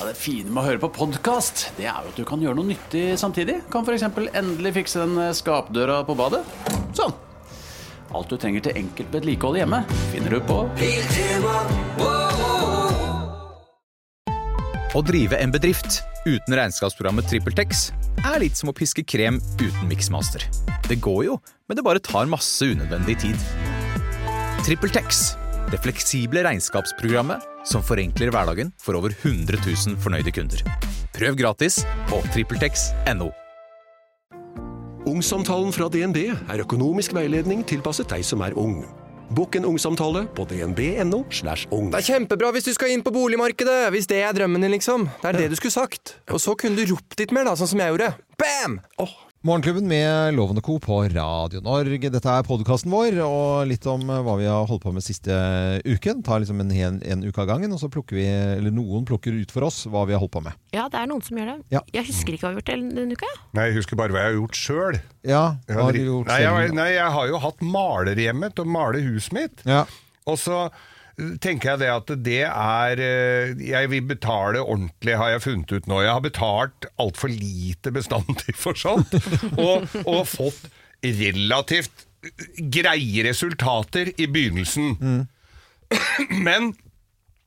Ja, det fine med å høre på podkast, det er jo at du kan gjøre noe nyttig samtidig. Kan f.eks. endelig fikse den eh, skapdøra på badet. Sånn. Alt du trenger til enkelt vedlikehold hjemme, finner du på Å drive en bedrift uten regnskapsprogrammet TrippelTex er litt som å piske krem uten miksmaster. Det går jo, men det bare tar masse unødvendig tid. TrippelTex det fleksible regnskapsprogrammet som forenkler hverdagen for over 100 000 fornøyde kunder. Prøv gratis på TrippelTex.no. Ungsamtalen fra DNB er økonomisk veiledning tilpasset deg som er ung. Bokk en ungsamtale på dnb.no. slash Mm. ung. Det er kjempebra hvis du skal inn på boligmarkedet, hvis det er drømmen din, liksom. Det er det du skulle sagt. Og så kunne du ropt litt mer, da, sånn som jeg gjorde. Bam! Morgenklubben med Loven og Co. på Radio Norge. Dette er podkasten vår, og litt om eh, hva vi har holdt på med siste uken. Tar liksom en, hel- en uke av gangen, og så plukker vi, eller noen plukker ut for oss hva vi har holdt på med. Ja, det er noen som gjør det. Ja. Jeg husker ikke hva vi har gjort denne denne uka. jeg. Nei, jeg husker bare hva jeg har gjort sjøl. Ja, Jeg, hva har har du dri- gjort nei, jeg, har- selv? nei, jeg har jo hatt maler hjemme til å male huset mitt. Ja. Og så eh, tenker jeg det at det er eh, Jeg vil betale ordentlig, har jeg funnet ut nå. Jeg har betalt altfor lite bestandig for sånt, og, og fått relativt eh, greie resultater i begynnelsen. Mm. Men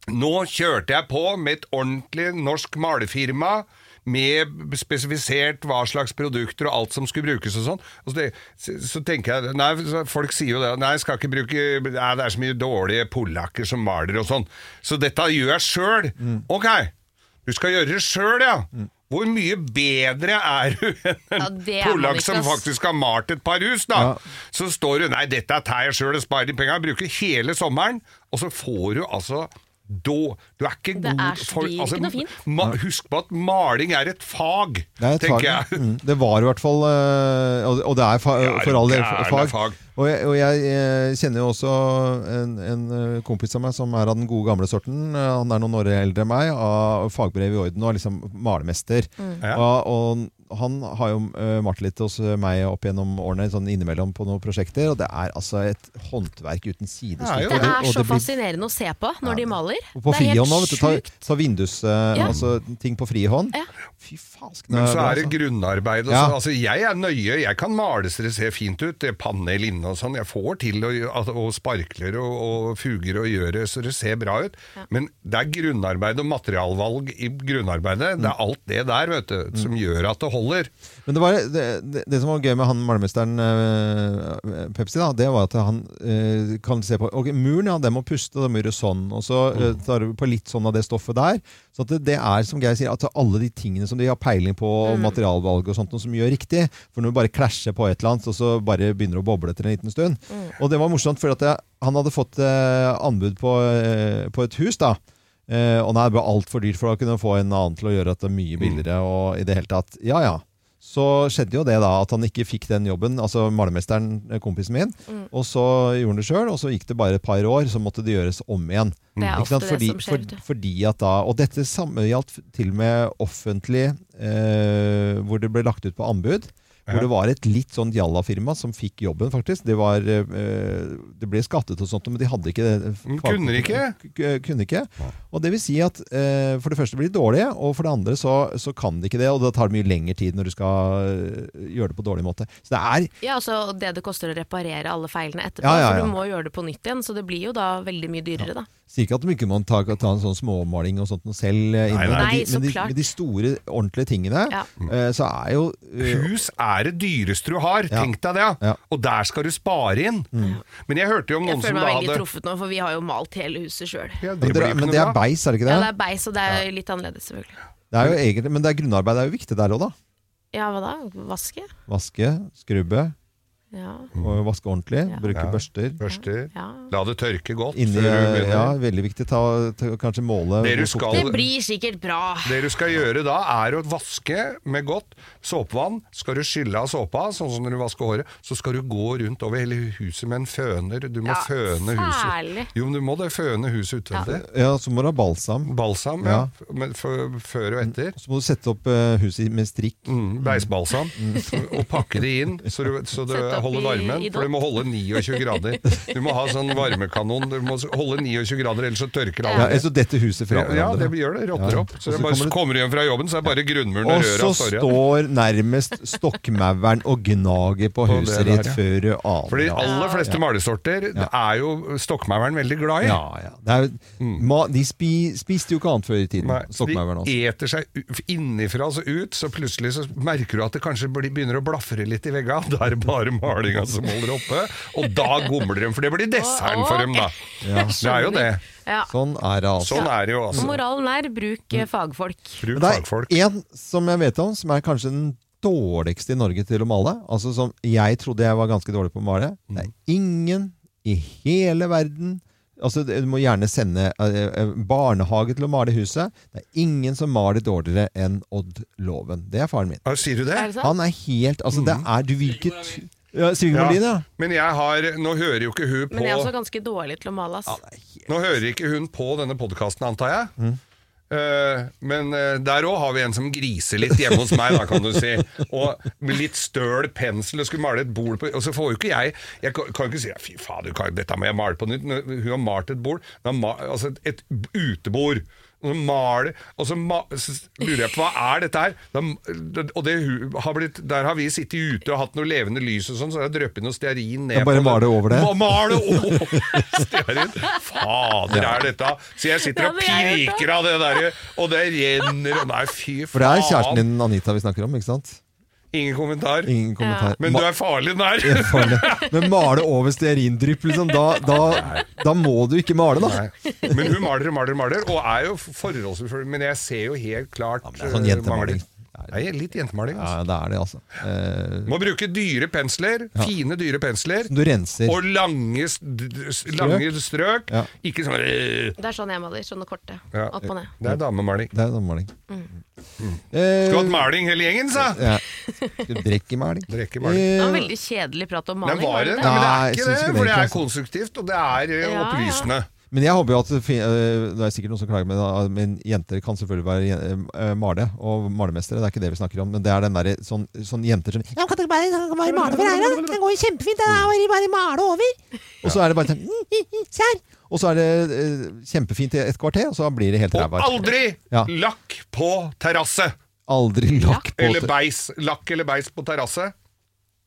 nå kjørte jeg på med et ordentlig norsk malefirma, med spesifisert hva slags produkter og alt som skulle brukes og sånn. Og så, det, så, så tenker jeg, nei, så Folk sier jo det, nei, jeg skal ikke bruke, nei, det er så mye dårlige polakker som maler og sånn. Så dette gjør jeg sjøl. Ok, du skal gjøre det sjøl, ja. Hvor mye bedre er du enn en det er man polakk ikke, som ass. faktisk har malt et par hus, da? Så står du Nei, dette tar jeg sjøl og sparer de penga. Jeg Bruker hele sommeren, og så får du altså da, du er ikke Det god altså, er- det gir ikke noe fint. ma, Husk på at maling er et fag, Det, er et fag, tenker ja. jeg. mm, det var i hvert fall eh, Og og det er fa Ja, for all del det er fag. fag. Og jeg, og jeg eh, kjenner jo også en, en eh, kompis av meg som er av den gode gamle sorten. Eh, Han er noen år eldre enn meg, av fagbrev i orden og er liksom malermester. Mm. Ja. Og, og han har jo eh, malt litt hos meg opp gjennom årene sånn innimellom på noen prosjekter, og det er altså et håndverk uten Det er jo sidestykke. Det Og er og så blir- fascinerende å se på når de maler. og på det er frihånd nå, helt vet du. Ta, sjukt. ta vindus, eh, Ja. altså ting på frihånd. Ja. Fy fasken. Men det så bra, er det altså. grunnarbeid. Og Ja. sånn. altså, jeg er nøye, jeg kan male så det ser fint ut. Det er Panel inne og sånn. Jeg får til å, gjø- at- og sparkler og, og fuger og gjør det så det ser bra ut. Men det er grunnarbeid og materialvalg i grunnarbeidet. Det er alt det der vet Mm. du, som gjør at det holder. Men det, var, det, det, det som var gøy med han malermesteren eh, Pepsi, da, det var at han eh, kan se på Ok, muren, ja, den må puste, og den må gjøre sånn. Og så eh, tar du på litt sånn av det stoffet der. Så at det, det er, som Geir sier, at alle de tingene som de har peiling på, og materialvalg og sånt, noe som gjør riktig. For når du bare klasjer på et eller annet, og så bare begynner det å boble etter en liten stund. Og det var morsomt, for at jeg, han hadde fått eh, anbud på, eh, på et hus, da. Eh, og nei, det ble altfor dyrt, for da kunne han få en annen til å gjøre at det er mye billigere. Og i det hele tatt, ja ja. Så skjedde jo det da, at han ikke fikk den jobben, altså malermesteren, eh, kompisen min. Mm. Og så gjorde han det sjøl, og så gikk det bare et par år, så måtte det gjøres om igjen. Det er Ikke sant? ofte det fordi, som skjer. vet du. For, fordi at da, Og dette samme gjaldt til og med offentlig, eh, hvor det ble lagt ut på anbud. Hvor det var et litt sånn jallafirma som fikk jobben, faktisk. Det, var, eh, det ble skattet og sånt, men de hadde ikke det. eh, Men kunne de ikke? K- eh, Kunne ikke. Og det vil si at eh, for det første blir de dårlige, og for det andre så, så kan de ikke det. Og da tar det mye lengre tid når du skal eh, gjøre det på dårlig måte. Så det er Ja, altså det det koster å reparere alle feilene etterpå. Ja, ja, ja. For du må gjøre det på nytt igjen, så det blir jo da veldig mye dyrere, da. Sier ikke at de ikke må ta, ta en sånn småmaling og sånt noe selv, eh, inne, nei. men, Nei, de, så men, de, klart. men de store, ordentlige tingene, Ja. Mm. eh, så er jo eh, Hus er det dyreste du har, Ja. tenk deg det. Ja. Mm. Og der skal du spare inn. Men jeg hørte jo om Jeg noen føler som meg da veldig hadde truffet nå, for vi har jo malt hele huset sjøl. ja, men, det dere, blir jo men ikke det noe er bra. beis, er det ikke Ja, det? det er beis, og det er jo litt annerledes, selvfølgelig. det er jo egentlig, men det er grunnarbeid er jo viktig der òg, da. Ja, hva da? Vaske? Vaske, skrubbe, Ja. og vaske ordentlig, Ja. bruke Mm. Ja. børster. Børster. ja. La det tørke godt. Inni, eh, før du begynner. ja, veldig viktig. Ta, ta, kanskje måle Det du hvor fort- skal- Det blir sikkert bra. Det du skal gjøre da, er å vaske med godt såpevann. Skal du skylle av såpa, sånn som når du vasker håret, så skal du gå rundt over hele huset med en føner. Du må Ja, føne særlig. huset. Jo, men du må det føne huset utvendig. Ja, så må du ha balsam. Balsam, ja. Men f- før og etter. Så må du sette opp eh, huset med strikk. Mm. Mm, Beisbalsam. Og pakke det inn, så, du, så det Sette opp holde i- varmen, i for du må holde 29 grader. Du må ha sånn varmekanon, du må holde 29 grader, ellers så tørker Ja, alle. ellers så detter huset fra Ja, ja, det hverandre. gjør det. Rotter Ja. opp. Og Så det så bare kommer det- kommer du hjem fra jobben, så er det bare grunnmuren og Og røra så står igjen. står nærmest stokkmauren og gnager på På det huset der, ditt ja. før du aner For de det. aller fleste malesorter det er jo stokkmauren veldig glad i. Ja, ja. Det er, jo- ma, de spi, spiste jo ikke annet før i tiden, Mm. Nei, så stokkmauren. Altså. de eter seg u- innifra og så ut, så plutselig så merker du at det kanskje blir- begynner å blafre litt i veggene. Da er det bare malinga som holder oppe, og da gomler de, for det blir desserten for dem, da. Det er jo det. Ja. Sånn er det altså. Sånn er det jo, altså. Moralen er bruk eh, fagfolk. Bruk Men fagfolk. det Sånn er en som jeg vet om, som er kanskje den dårligste i Norge til å male. Altså som jeg trodde jeg var ganske dårlig på å male. Det er ingen i hele verden Altså, Du må gjerne sende eh, eh, barnehage til å male huset. Det er ingen som maler dårligere enn Odd Loven. Det er faren min. Ja, Sier du Er det? det sant? Han er helt Altså, det er du vil ikke t- ja, Sigurd Molin, ja. Men jeg har Nå hører jo ikke hun Men jeg er også på ganske dårlig til å male, ass. Nå hører ikke hun på denne podkasten, antar jeg. Eh, men eh, der òg har vi en som griser litt hjemme hos meg, da, kan du si. Og med litt støl pensel og skulle male et bord på Og så får jo ikke jeg Jeg kan kan jo ikke si Fy faen, du kan, dette må jeg male på nytt. Når Hun har malt et bord. Hun har ma, altså et, et utebord. Og så maler Og så, ma, så lurer jeg på hva er dette her? Da, og det hu- har blitt Der har vi sittet ute og hatt noe levende lys og sånn, så har jeg dryppet noe stearin ned Ja, bare på male over det. Ma- Male over stearin! Fader, er dette Så jeg sitter og Det hadde jeg gjort, da. pirker av det derre, og det renner og Nei, fy faen. For det er kjæresten din, Anita, vi snakker om, ikke sant? Ingen kommentar. Ingen kommentar. Men du er farlig nær. Farlig. Men male over stearindrypp, liksom. Da, da, da må du ikke male, da. Nei. Men hun maler og maler og maler, og er jo forholdsvis Men jeg ser jo helt klart men det er sånn eh, jentemaling. mangler. Nei, litt jentemaling. Ja, Altså. det er det, altså. Eh, Må bruke dyre pensler. Fine, dyre pensler. du renser. Og lange, s- d- d- s- lange strøk. Ja. Ikke sånn øh. Det er sånn jeg maler. Sånne korte. Ja. Opp og ned. Det er damemaling. Det er sammaling. Mm. Skulle hatt maling hele gjengen, sa! Eh, Ja. Drikkemaling. Drikkemaling. Det var Eh, veldig kjedelig prat om Men maling. var det? det? Nei, men det Nei, er jeg ikke synes det, ikke for det, det er altså. konstruktivt, og det er eh, Ja, ja. opplysende. men jeg håper jo at det fin- eh, Det er sikkert noen som klager, men, da- men jenter kan selvfølgelig være jen- eh, male og malermestere. Det er ikke det vi snakker om, men det er den derre sånn, sånn jenter som Ja, kan dere bare, kan dere bare male for her, da? Det går jo kjempefint. Det er bare, bare male over. Og så er det bare sånn mm, mm, mm, Se her! Og så er det eh, kjempefint i et kvarter, og så blir det helt Og ræva. aldri Ja. lakk på terrasse! Aldri lakk på Eller beis. Lakk eller beis på terrasse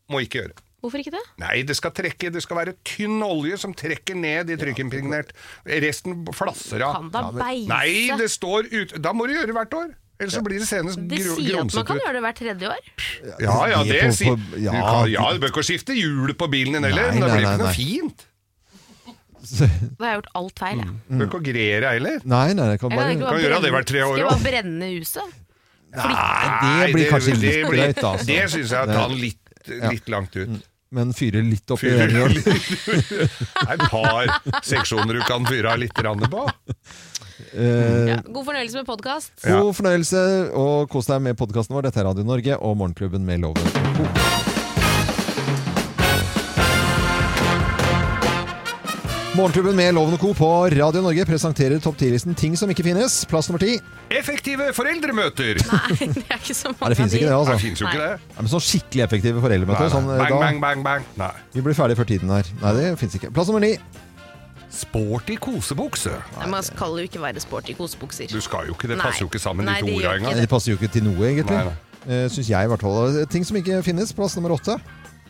må ikke gjøre. Hvorfor ikke det? Nei, det skal trekke Det skal være tynn olje som trekker ned i trykkimpregnert. Resten flasser av. Kan da beise? Nei, det står ut Da må du gjøre hvert år! Ellers så blir det senest De gro- sier at man grumsete kan ut. gjøre det hvert tredje år. Ja, ja, Det det på- sier på- du ja, kan- ja, du bør ikke skifte hjulet på bilen din heller. Nei, men Det nei, blir nei, ikke nei. noe fint. Da har jeg gjort alt feil, jeg. Du Mm. bør ikke å grere heller. Nei, nei, det kan jeg bare ikke Mm. Kan bare gjøre det brenne- hvert tre år Skal jeg bare også. brenne huset? Nei, det blir kanskje litt blir- drøyt, altså. Det syns jeg tar den litt, litt langt ut. Men fyre litt opp i Fyrer øynene. litt Det er et par seksjoner du kan fyre av litt rann på. Eh. Ja. God fornøyelse med podkast. Ja. God fornøyelse, og kos deg med podkasten vår. Dette er Radio Norge og Morgenklubben med Loven. og Co. Morgenklubben med Loven og Co. på Radio Norge presenterer topp 10-listen Ting som ikke finnes. Plass nummer ti. Nei, Effektive foreldremøter! Nei, det er ikke så mange det finnes av de. ikke det, Det altså. fins jo ikke det. Nei, men sånn skikkelig effektive foreldremøter. Sånn, eh, Bang, da- bang, bang, bang. Nei. Vi blir ferdig før tiden her. Nei, det fins ikke. Plass nummer ni. Sporty kosebukse. Nei, man kan jo ikke være sporty kosebukser. Du skal jo ikke, det Nei. passer jo ikke sammen, Nei, de to det gjør orda ikke engang. Nei, Det passer jo ikke til noe, egentlig. Nei, nei. Eh, Syns jeg, i hvert fall. Ting som ikke finnes. Plass nummer åtte.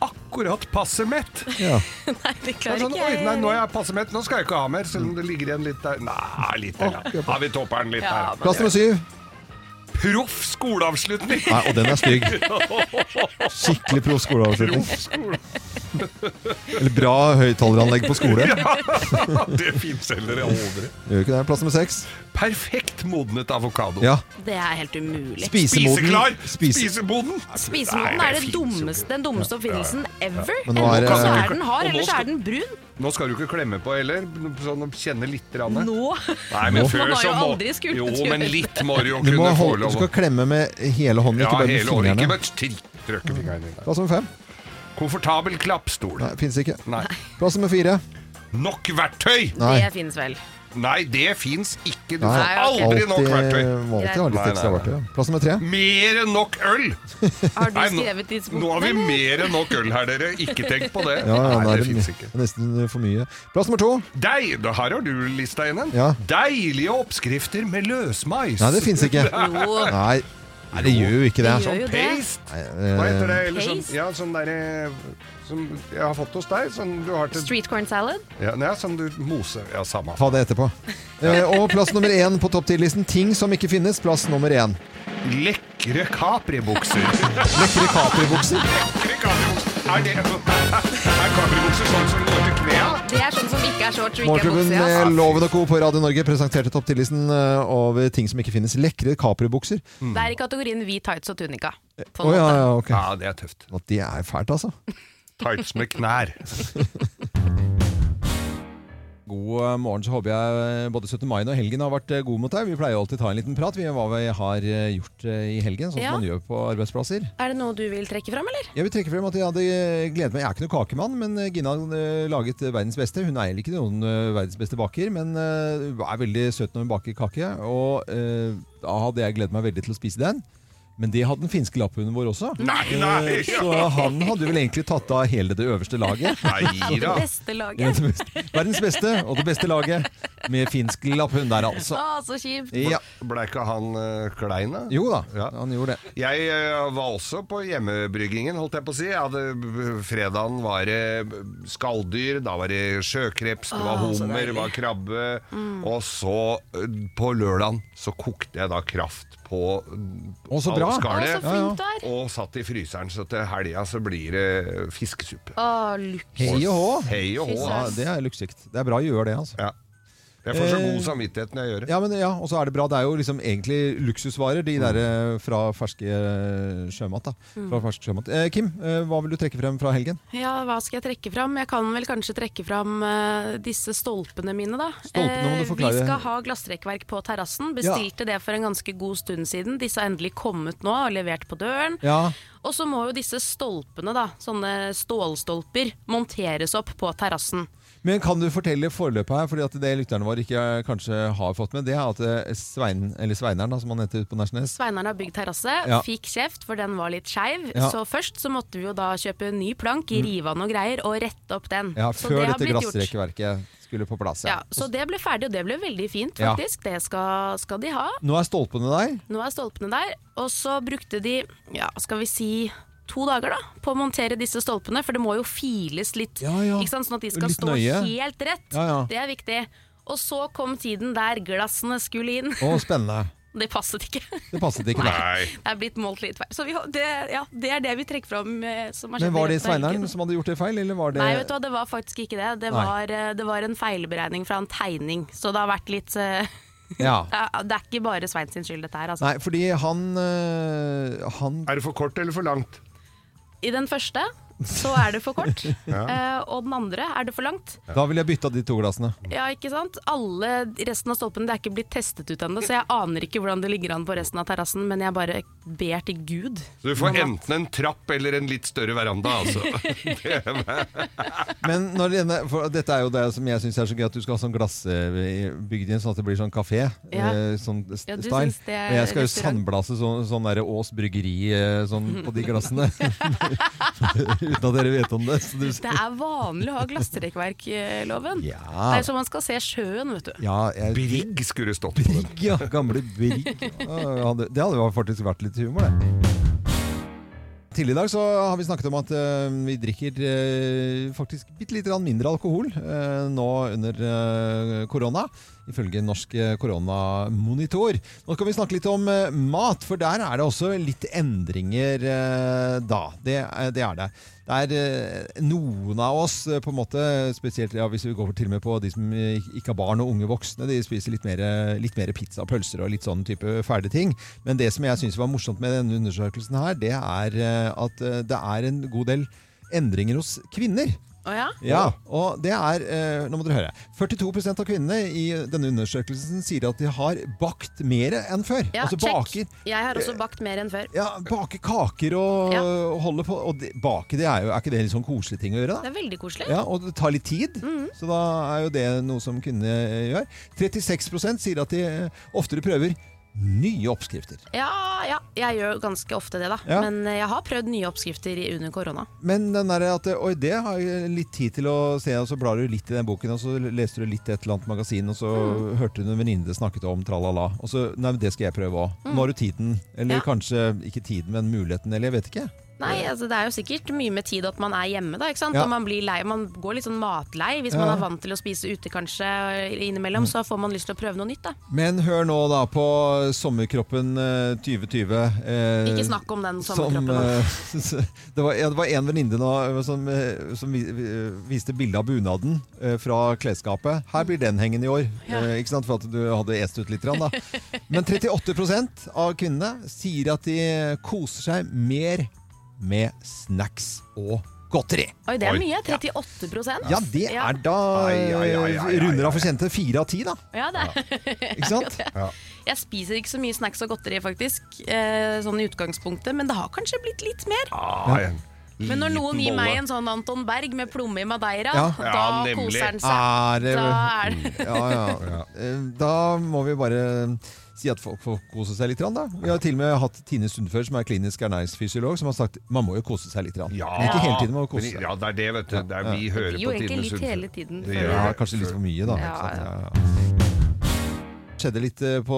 Akkurat passe mett. Det Ja. Nei, det er klarer Sånn, ikke oi, jeg. nei, nå er jeg passe mett, nå skal jeg ikke ha mer, selv om det ligger igjen litt der. Nei, litt til. da. Har vi topperen litt Ja, her? men Plass nummer syv. Proff skoleavslutning! Nei, og den er stygg. Skikkelig proff skoleavslutning. Proff skole- Eller bra høyttaleranlegg på skole. Det fins heller aldri. Gjør ikke det. Plass nummer seks. Perfekt modnet avokado. Ja. det er helt umulig. Spisemoden. Spiseklar! Spise. Spisemoden! Spisemoden Nei, er det finnes jo dummeste, den dummeste oppfinnelsen ever. Men nå er Enten det- så er den Og hard, nå eller så skal- er den brun. ikke. Nå skal du ikke klemme på heller, sånn å kjenne litt rann. Nå Nei, men Nå. før Man har så jo må aldri skullet Jo, gjøre men det. litt må du jo Du, må kunne få holde, du lov skal klemme med hele hånden, Ja, ikke bare med hele året. Ikke fingrene. bare til- trykke fingrene dine. Plass nummer fem. Komfortabel klappstol. Nei, Fins ikke. Nei. Plass nummer fire. Nok verktøy! Nei. Det finnes vel. Nei, det fins ikke. Du Nei, får aldri alltid, nok verktøy. må alltid ha litt Nei, ekstra nei, verktøy. ja. Plass nummer tre. Mer enn nok øl! Har du Nei, nå- skrevet tidspunktet? Nå har vi mer enn nok øl her, dere. Ikke tenk på det. Ja, ja, Nei, nå er det det fins ne- ikke. nesten for mye. Plass nummer to. Deig, da her har du lista igjen en. Ja. Deilige oppskrifter med løsmais. Nei, det fins ikke. Jo, Nei, nei det gjør jo ikke det. sånn det gjør jo det. Paste. Eh, Hva heter det? Eller sånn, Paste? ja, sånn derre som jeg har fått hos deg. Sånn du har til Street corn salad. ja, nei, sånn du moser Ja, samme. Ta det etterpå. Eh, Og plass nummer én på topp 10-listen. Ting som ikke finnes. Plass nummer én. Lekre Capri-bukser. Lekre Capri-bukser. Lekre Capri-bukser. Er det Er Capri-bukser sånn som går til knea? Det er sånn som ikke er shorts og ikke er Morgenklubben bukse. med Altså. Loven og Co. på Radio Norge presenterte topp 10-listen eh, over ting som ikke finnes. Lekre Capri-bukser. Å Det er i kategorien hvit tights og tunika. På en ja, måte. ja, ok. Ja, det er tøft. At De er fælt, altså. Tights med knær. God eh, morgen, så håper jeg eh, både 17. mai og helgen har vært eh, god mot deg. Vi pleier alltid ta en liten prat vi, hva vi har eh, gjort i helgen, sånn som Ja. man gjør på arbeidsplasser. Er det noe du vil trekke fram, eller? Jeg vil trekke frem at jeg hadde gledet meg. Jeg er ikke noen kakemann, men Gina eh, laget eh, verdens beste. Hun er ikke noen eh, verdens beste baker, men eh, hun er veldig søt når hun baker kake. Og eh, da hadde jeg gledet meg veldig til å spise den. Men det hadde den finske lapphunden vår også. Nei, nei! Eh, Så han hadde vel egentlig tatt av hele det øverste laget. Nei da. Beste Ja, laget. det beste- Verdens beste og det beste laget med finsk lapphund der, altså. Å, så kjipt. Ja. Ble ikke han eh, klein, da? Jo da, Ja. han gjorde det. Jeg eh, var også på hjemmebryggingen, holdt jeg på å si. Jeg hadde, eh, fredagen var det eh, skalldyr, da var det sjøkreps, det Ah, var hummer, det var krabbe. Mm. Og så, eh, på lørdagen, så kokte jeg da kraft på Å, så av bra. Å, skallet, så flink du er. Og satt i fryseren, så til helga så blir det eh, fiskesuppe. Å, lukk. Hei og hå. Hei og hå. Ja, det er luksusikt. Det er bra å gjøre det, altså. Ja. Jeg får så Eh, god samvittighet når jeg gjør det. Ja, men ja, og så er det bra. Det er jo liksom egentlig luksusvarer, de der eh, fra ferske eh, sjømat. da. Mm. Fra fersk sjømat. Eh, Kim, eh, hva vil du trekke frem fra helgen? Ja, hva skal jeg trekke fram? Jeg kan vel kanskje trekke fram eh, disse stolpene mine, da. Stolpene må du Eh, forklare. Vi skal ha glassrekkverk på terrassen. Bestilte det for en ganske god stund siden. Disse har endelig kommet nå og levert på døren. Ja, Og så må jo disse stolpene, da, sånne stålstolper, monteres opp på terrassen. Men kan du fortelle forløpet her, fordi at det lytterne våre ikke eh, kanskje har fått med, det er at eh, Svein, eller Sveineren, da, som han heter ute på Nesjnes Sveinaren har bygd terrasse, Ja. fikk kjeft for den var litt skeiv. Ja. Mm. Så først så måtte vi jo da kjøpe ny plank, rive av noe greier og rette opp den. ja, så Før det har dette blitt gjort. glassrekkverket skulle på plass. Ja, så det ble ferdig, og det ble veldig fint, Ja. faktisk. Det skal, skal de ha. Nå er stolpene der. Nå er stolpene der. Og så brukte de, ja, skal vi si to dager da, på å montere disse stolpene, for det må jo files litt, Ja, ja. Ikke sant? sånn at de skal Litt stå nøye. helt rett. Ja, ja. Det er viktig. Og så kom tiden der glassene skulle inn. Å, spennende. Det passet ikke. Det passet ikke. der. Nei. Det er blitt målt litt feil. Så vi, det, ja, det er det vi trekker fram. eh, Som har skjedd Men i var det løpet av Sveineren helgen. som hadde gjort det feil, eller var det Nei, vet du hva, det var faktisk ikke det. Det Nei. var, eh, det var en feilberegning fra en tegning. Så det har vært litt eh, Ja. ja, Det er ikke bare Svein sin skyld, dette her. Altså. Nei, fordi han eh, Han Er det for kort eller for langt? I den første så er det for kort, eh, og den andre er det for langt. Da ville jeg bytta de to glassene. Ja, ikke sant? Alle resten av stolpene det er ikke blitt testet ut ennå, så jeg aner ikke hvordan det ligger an på resten av terrassen, men jeg bare ber til Gud. Så du får enten en trapp eller en litt større veranda, altså. Det- Men når denne, for dette er jo det som jeg syns er så gøy, at du skal ha sånn glass eh, bygd inn, sånn at det blir sånn kafé. Ja. eh, Sånn st- Ja, du style. syns det er Og jeg skal jo restaurant. sandblase sånn, sånn derre Ås bryggeri eh, sånn på de glassene. Uten at dere vet om det. Så du, Det er vanlig å ha glassrekkverk, eh, loven. Det ja. er som man skal se sjøen, vet du. ja jeg, Brigg skulle det stått på den. ja, gamle Brigg. Ja, det det hadde jo faktisk vært litt humor, det. Tidligere i dag så har vi snakket om at eh, vi drikker eh, faktisk bitte lite grann mindre alkohol eh, nå under eh, korona. Ifølge Norsk eh, koronamonitor. Nå skal vi snakke litt om eh, mat, for der er det også litt endringer eh, da. Det, er- det er det. Det er eh, noen av oss, eh, på en måte, spesielt ja, hvis vi går til og med på de som eh, ikke har barn og unge voksne, de spiser litt mer, litt mer pizza og pølser og litt sånn type ferdige ting. Men det som jeg syns var morsomt med denne undersøkelsen her, det er eh, at eh, det er en god del endringer hos kvinner. Å ja? Ja, og det er eh, Nå må dere høre. 42 av kvinnene i denne undersøkelsen sier at de har bakt mer enn før. ja altså check. baker. Jeg har også bakt mer enn før. Ja, bake kaker og, Ja. og holde på. Og det, bake, det er jo Er ikke det litt sånn koselig ting å gjøre, da? Det er veldig koselig. Ja, og det tar litt tid, Mhm. så da er jo det noe som kvinnene eh, gjør. 36 sier at de eh, oftere prøver nye oppskrifter. Ja, ja, jeg gjør ganske ofte det, da. Ja. Men eh, jeg har prøvd nye oppskrifter i- under korona. Men den der at eh, Oi, det har jeg litt tid til å se, og så blar du litt i den boken, og så leste du litt i et eller annet magasin, og så Mhm. hørte du en venninne snakket om tralala, og så Nei, men det skal jeg prøve òg. Nå har du tiden, eller Mhm. Ja. kanskje ikke tiden, men muligheten, eller jeg vet ikke. Nei, altså Det er jo sikkert mye med tid at man er hjemme. da, ikke sant? Ja. Og Man blir lei, man går litt sånn matlei. Hvis man Ja. Mm. er vant til å spise ute kanskje innimellom, så får man lyst til å prøve noe nytt. da. Men hør nå da på Sommerkroppen eh, 2020. eh, Ikke snakk om den Som, sommerkroppen. da. eh, det, var, ja, det var en venninne nå, eh, som, eh, som vi, vi- viste bilde av bunaden eh, fra klesskapet. Her blir den hengende i år. Eh, ikke sant? For at du hadde est ut litt. grann, Da. Men 38 av kvinnene sier at de koser seg mer med snacks og godteri. Oi, det Oi. er mye. 38 Ja, det Ja. er da eh, Ai, ai, ai, ai, ai, runder av ai. for kjente fire av ti, da. Ja, det er. Ikke sant? Jeg spiser ikke så mye snacks og godteri, faktisk, eh, sånn i utgangspunktet, men det har kanskje blitt litt mer. Ah, en Men når liten noen gir bolle. meg en sånn Anton Berg med plomme i Madeira, Ja. da Ja, nemlig. koser han seg. Er det Da er det Ja, ja. Eh, Da må vi bare eh, si at folk får kose seg litt. grann, Da. Vi har til og med hatt Tine Sundfør, som er klinisk ernæringsfysiolog, som har sagt man må jo kose seg litt. grann." Ja. Men ikke hele tiden må du kose Men- seg. Ja, det er det, vet du. Det er, vi hører blir jo på egentlig Tine litt Sundfør. hele tiden, Det føler gjør Ja, det. kanskje litt for mye, da. Ja, ikke sant? Ja, ja. Skjedde litt eh, på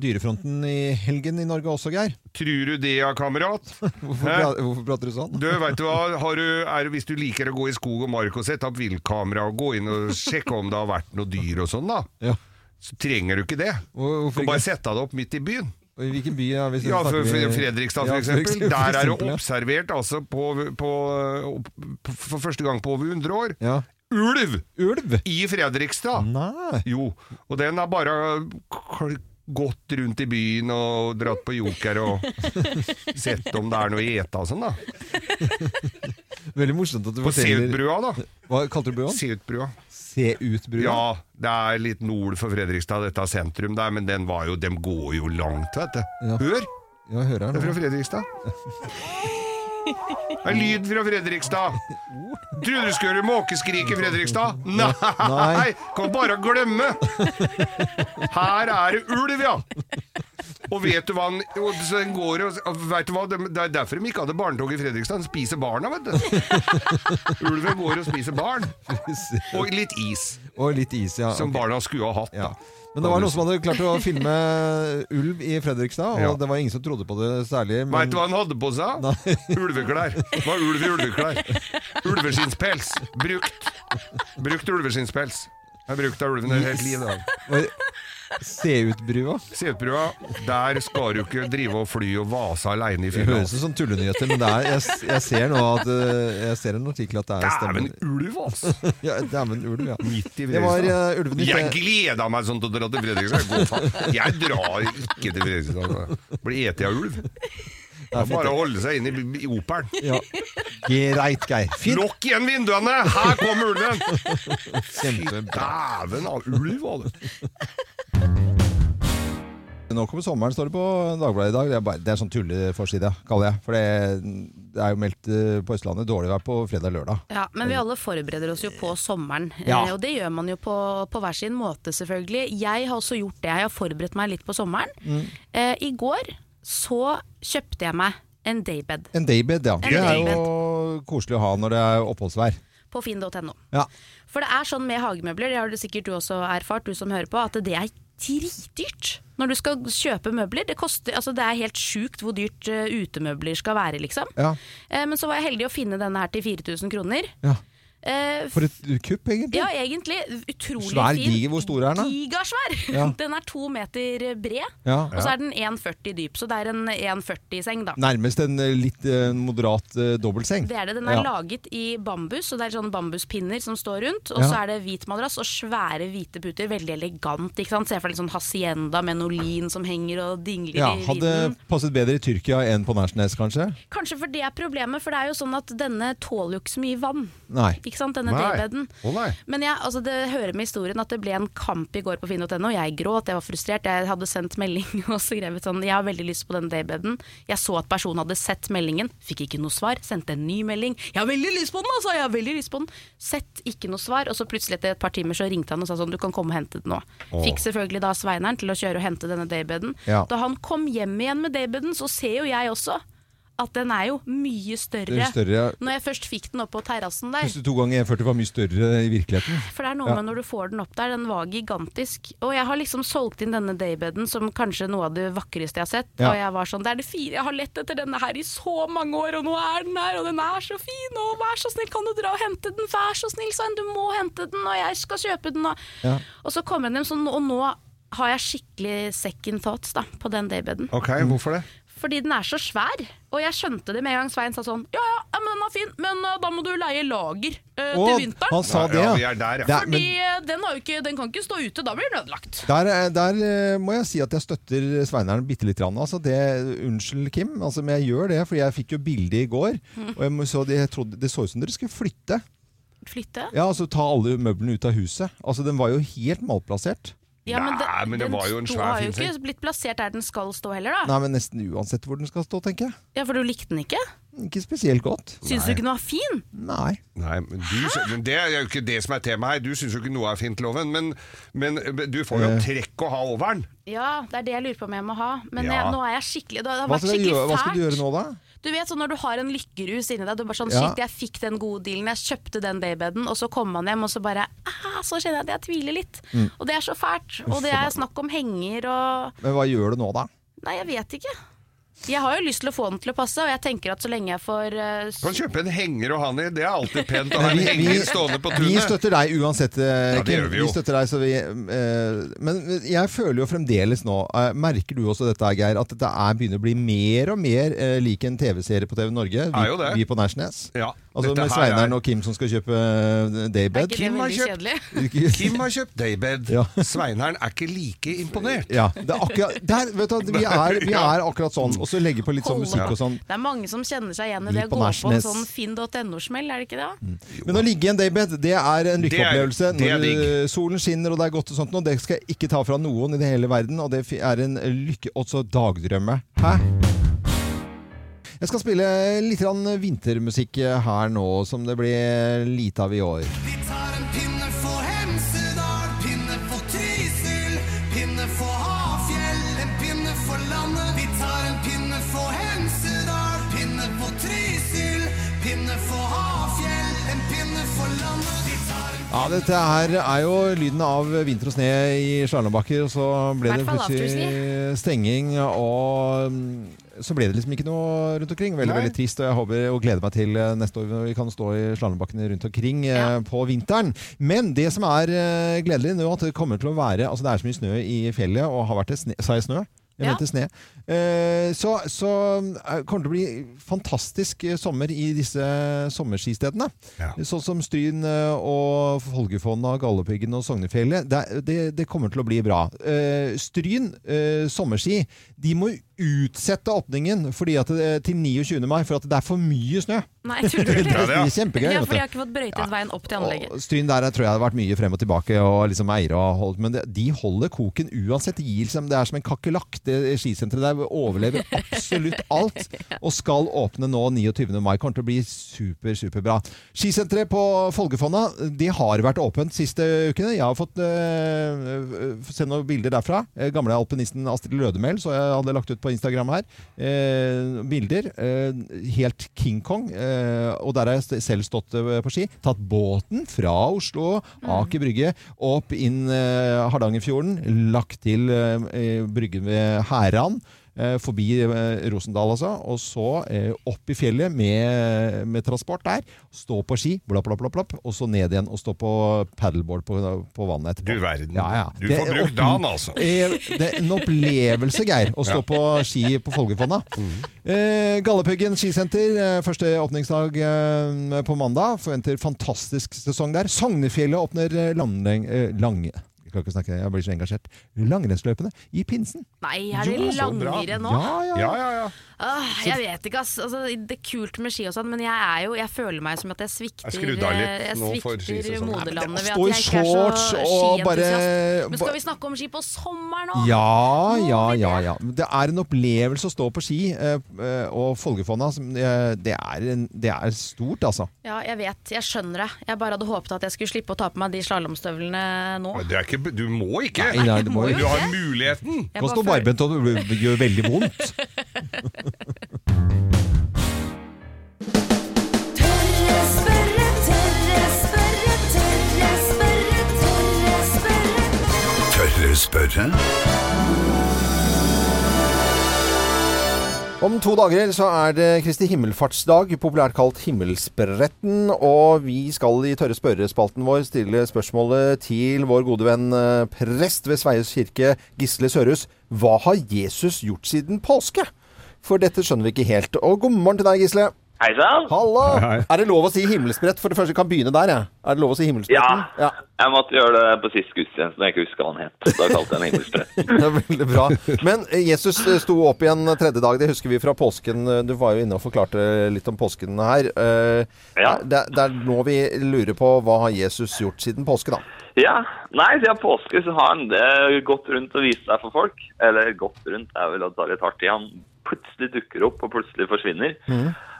dyrefronten i helgen i Norge også, Geir. Tror du det, ja, kamerat? Hvorfor, Hæ? pra hvorfor prater du sånn? Du, vet du hva, har du, er, Hvis du liker å gå i skog og mark og sette opp viltkamera og gå inn og sjekke om det har vært noe dyr og sånn, da, Ja. så trenger du ikke det. Hvor- Du Hvorfor kan bare ikke? sette det opp midt i byen. I hvilken by? Ja, hvis Ja, snakker for, vi- for Fredrikstad, Ja, for eksempel. for Der er eksempel, det ja. observert, altså, på, på, opp- for første gang på over 100 år, Ja. ulv Ulv? i Fredrikstad! Nei. Jo, og den har bare k- gått rundt i byen og dratt på Joker og sett om det er noe å ete og sånn, da. Veldig morsomt at du På forteller Seutbrua, da. Hva kalte du brua? Seutbrua. Se ut brua? Ja, det er litt nord for Fredrikstad, dette sentrum der, men den var jo, dem går jo langt, vet du. Ja. Hør! Ja, jeg hører her Det er nå. fra Fredrikstad. Det er lyd fra Fredrikstad. Trodde du skulle høre måkeskrik i Fredrikstad? Nei! Nei. Kan bare glemme! Her er det ulv, ja! Og vet du hva han og så den går og, og vet du hva, de, Det er derfor de ikke hadde barnetog i Fredrikstad. De spiser barna, vet du. Ulven går og spiser barn. Og litt is, Og litt is, ja. som ok. barna skulle ha hatt. ja. da. Men det var noen som hadde klart å filme ulv i Fredrikstad, og Ja. det var ingen som trodde på det særlig. Veit Men du hva han hadde på seg? Ulveklær. Det var ulv i ulveklær. Ulveskinnspels. Brukt. Brukt ulveskinnspels. Jeg har brukt av ulven et helt liv. da. Var- Se ut brua. Setbrua, der skal du ikke drive og fly og vase aleine i Det fylla. høres ut som tullenyheter, men det er, jeg, s- jeg ser nå at eh, Jeg ser en artikkel at det er Dæven stemmer. ulv, altså! Ja, Dæven ulv, ja. Midt i Det var Fredrikstad. uh, ulvenytt. Jeg det- gleda meg sånn til å dra til Fredrikstad. Jeg, går faen- jeg drar ikke til Fredrikstad. altså. Blir ete av ulv. Det er bare å holde seg inne i, i Operen. Ja. Greit, Geir. Fint. Lukk igjen vinduene! Her kommer ulven! Kjempebra. Dæven av ulv, var det. Nå kommer sommeren, står det på Dagbladet i dag. Det er, bare, det er sånn tulleforside, kaller jeg. For det, det er jo meldt eh, på Østlandet dårlig vær på fredag og lørdag. Ja, men vi alle forbereder oss jo på sommeren, Ja. eh, og det gjør man jo på, på hver sin måte selvfølgelig. Jeg har også gjort det, jeg har forberedt meg litt på sommeren. Mm. Eh, I går så kjøpte jeg meg en daybed En daybed, ja. En Det er jo koselig å ha når det er oppholdsvær. på finn.no. Ja. For det er sånn med hagemøbler, det har du sikkert du også erfart, du som hører på, at det er dritdyrt når du skal kjøpe møbler. Det, koster, altså det er helt sjukt hvor dyrt eh, utemøbler skal være, liksom. Ja. Eh, men så var jeg heldig å finne denne her til 4000 kroner. ja. Eh, For et kupp, egentlig. Ja, egentlig. Utrolig Svær, fin. diger. Hvor stor er den, da? Gigasvær! Ja. Den er to meter bred, Ja. og så er den 1,40 dyp. Så det er en 1,40-seng, da. Nærmest en eh, litt eh, moderat eh, dobbeltseng. Det er det. Den er Ja. laget i bambus, og det er sånne bambuspinner som står rundt. Og Ja. så er det hvit madrass og svære hvite puter. Veldig elegant. ikke sant? Se for deg litt sånn hacienda med noe lin som henger og dingler Ja, i hadde vinden. passet bedre i Tyrkia enn på Nærsnes, kanskje? Kanskje for det er problemet, for det er jo sånn at denne tåler jo ikke så mye vann. Nei. Ikke ikke sant, denne Nei. daybeden. Å, nei. Men jeg, altså, det hører med historien at det ble en kamp i går på finn.no. Jeg gråt, jeg var frustrert. Jeg hadde sendt melding og skrevet sånn Jeg har veldig lyst på denne daybeden. Jeg så at personen hadde sett meldingen, fikk ikke noe svar. Sendte en ny melding. Jeg har veldig lyst på den, altså! Jeg har veldig lyst på den. Sett ikke noe svar. Og så plutselig etter et par timer så ringte han og sa sånn Du kan komme og hente den nå. Fikk selvfølgelig da Sveineren til å kjøre og hente denne daybeden. Ja. Da han kom hjem igjen med daybeden, så ser jo jeg også at den er jo mye Det større. er større. Når jeg først fikk den opp på terrassen der, Første to ganger 40 var mye større i virkeligheten. for det er noe Ja. med når du får den opp der, den var gigantisk. Og jeg har liksom solgt inn denne daybeden som kanskje noe av det vakreste jeg har sett. Ja. Og jeg var sånn, det er det fire, jeg har lett etter denne her i så mange år, og nå er den her, og den er så fin, og vær så snill, kan du dra og hente den? Vær så snill, Svein, du må hente den, og jeg skal kjøpe den. Og, Ja. og så kom jeg hjem sånn, og nå har jeg skikkelig second thoughts da, på den daybeden. Ok, hvorfor det? Fordi den er så svær. Og jeg skjønte det med en gang Svein sa sånn, ja ja, ja, men den er fin, men eh, da må du leie lager eh, til Å, vinteren. han sa det, Ja, vi er der, ja. Det er- Fordi men- eh, den, har jo ikke, den kan ikke stå ute, da blir den ødelagt. Der, er- der eh, må jeg si at jeg støtter Sveineren bitte lite grann. Altså det, unnskyld, Kim, altså, men jeg gjør det, for jeg fikk jo bilde i går. Og jeg må- så det, jeg trodde, det så ut som dere skulle flytte. Flytte? Ja, altså Ta alle møblene ut av huset. Altså Den var jo helt malplassert. Ja, Nei, men det var jo en sto- svær har jo fin ikke blitt plassert der den skal stå heller, da. Nei, men Nesten uansett hvor den skal stå, tenker jeg. Ja, For du likte den ikke? Ikke spesielt godt. Syns du ikke den var fin? Nei. Nei, men, du, sy- men Det er jo ikke det som er temaet her. Du syns jo ikke noe er fint, Loven. Men, men du får jo Eh. trekk å ha over den. Ja, det er det jeg lurer på om jeg må ha. Men Ja. jeg, nå er jeg skikkelig Det har Hva skal, vært du skikkelig gjøre, fælt. hva skal du gjøre nå, da? Du vet sånn når du har en lykkerus inni deg, du er bare sånn Ja. shit, jeg fikk den gode dealen, jeg kjøpte den babybeden, og så kommer man hjem og så bare ah, så kjenner jeg at jeg tviler litt. Mm. Og det er så fælt. Og det er snakk om henger og Men Hva gjør du nå, da? Nei, jeg vet ikke. Jeg har jo lyst til å få den til å passe, og jeg tenker at så lenge jeg får eh, Du kan kjøpe en henger å ha den i. Det er alltid pent å ha Men vi- en vi- henger stående på Vi tunet. støtter deg uansett, eh, Ja, det Kim. gjør vi vi, jo. støtter deg, så vi, eh, men jeg føler jo fremdeles nå eh, Merker du også dette, Geir, at dette er, begynner å bli mer og mer eh, lik en TV-serie på TV Norge? Vi, Er jo det. vi på Nærsnes. Ja, altså med dette her er- Sveineren og Kim som skal kjøpe eh, Er daybed. ikke det Kim har veldig kjøpt- kjedelig? Kim har kjøpt daybed. Ja. Sveineren er ikke like imponert. Ja, det er akkurat der, vet du, vi, er, vi er akkurat sånn. Og så legge på litt sånn musikk og sånn. Det er mange som kjenner seg igjen i Vi det å på Mm. gå på en Nesjnes. sånn finn.no-smell, er det ikke det? da? Men å ligge i en daybed, det er en Det er- lykkeopplevelse. det er Når eh, solen skinner og det er godt og sånt noe, det skal jeg ikke ta fra noen i det hele verden. Og det fi- er en lykke... Også dagdrømme. Hæ? Jeg skal spille litt grann vintermusikk her nå, som det blir lite av i år. Vi tar en pinne for Hemsedal, pinne for Trysil, pinne for Hafjell, en pinne for landet. Vi tar en pinne for Hemsedal, pinne for Trysil, pinne for Hafjell, en pinne for landet. Vi tar en Ja, dette her er jo lyden av vinter og sne i Slalåmbakker, og så ble det Hvertfall plutselig stenging, og mm, så ble det liksom ikke noe rundt omkring. Veldig, Nei. veldig trist, og jeg håper og gleder meg til eh, neste år når vi kan stå i slalåmbakkene rundt omkring eh, Ja. på vinteren. Men det som er eh, gledelig nå, at det kommer til å være, altså det er så mye snø i fjellet, og har vært det sne, sa jeg snø? Jeg Ja. mente snø. Eh, så, så eh, kommer det til å bli fantastisk eh, sommer i disse sommerskistedene. Ja. Sånn som Stryn eh, og Folgefonna, Galdhøpiggen og Sognefjellet. Det, er- det, det kommer til å bli bra. Eh, Stryn eh, sommerski de må utsette åpningen fordi at det, til 29. mai, for at det er for mye snø. Nei, tuller Det du? Ja, det er- blir kjempegøy. Ja, vet for du. de har ikke fått brøytet veien opp til anlegget. Og Stryn der tror jeg det har vært mye frem og tilbake, og liksom eiere har holdt, men det, de holder koken uansett. De gir, liksom, det er som en kakerlakk. Det Skisenteret der overlever absolutt alt, og skal åpne nå 29. mai. Kommer til å bli super, superbra. Skisenteret på Folgefonna de har vært åpent siste ukene. Jeg har fått øh, øh, se noen bilder derfra. Eh, Gamle alpinisten Astrid Lødemel, så jeg hadde lagt ut på Instagram her. Eh, bilder. Eh, helt King Kong. Eh, og der har jeg st- selv stått eh, på ski. Tatt båten fra Oslo, Aker Brygge, opp inn eh, Hardangerfjorden. Lagt til eh, eh, bryggen ved Hæran. eh, Forbi eh, Rosendal, altså. Og så eh, opp i fjellet med, med transport der. Stå på ski, blapp, blapp, blapp, blapp. Og så ned igjen og stå på paddleboard på, på vannet etterpå. Du verden. Ja, ja. Du Det- får og- brukt dagen, altså. Eh, Det er en opplevelse, Geir, å stå på ski på Folgefonna. Eh, Galdhøpiggen skisenter, eh, første åpningsdag eh, på mandag. Forventer fantastisk sesong der. Sognefjellet åpner eh, Langeng... Eh, lang, kan ikke snakke, jeg blir så engasjert. Langrennsløpene i pinsen. Nei, er det Jo, så bra. langere nå? Ja, ja, ja. Ja, ja, ja. Åh, jeg vet ikke, ass. Altså, det er kult med ski og sånn, men jeg er jo Jeg føler meg som at jeg svikter Jeg skrudde av litt eh, jeg nå for svikter skisesongen. Nei, men moderlandet det ved å at jeg stå ikke i er shorts så og bare- skientusiast. Men skal vi snakke om ski på sommeren nå? Ja, ja, ja, ja. Det er en opplevelse å stå på ski, eh, eh, og Folgefonna som, eh, det, er en, det er stort, altså. Ja, jeg vet. Jeg skjønner det. Jeg bare hadde håpet at jeg skulle slippe å ta på meg de slalåmstøvlene nå. Men Det er ikke, du må ikke! Nei, nei, det må jo du har muligheten! Jeg Kan bare stå føler- barbent, og det gjør veldig vondt. Tørre spørre, tørre spørre, tørre spørre, tørre spørre. Tørre spørre? Om to dager så er det Kristi himmelfartsdag, populært kalt Himmelspretten. Og vi skal i tørre spørrespalten vår stille spørsmålet til vår gode venn eh, prest ved Sveies kirke, Gisle Sørhus. Hva har Jesus gjort siden påske? For dette skjønner vi ikke helt. Og god morgen til deg, Gisle. Hei sann! Halla! Hei, hei. Er det lov å si himmelsbrett? For det første, jeg kan begynne der, jeg. Er det lov å si himmelspretten? Ja. Jeg måtte gjøre det på sist gudstjeneste når jeg ikke husker hva han het. Da kalte jeg den himmelsprett. Det er veldig bra. Men eh, Jesus eh, sto opp igjen tredje dag, det husker vi fra påsken. Eh, Du var jo inne og forklarte litt om påsken her. Eh, Ja. Det, er- det er nå vi lurer på hva har Jesus gjort siden påske, da. Ja. Nei, siden påske så har han eh, gått rundt og vist seg for folk. Eller gått rundt er vel å ta litt hardt i. Han plutselig dukker opp og plutselig forsvinner.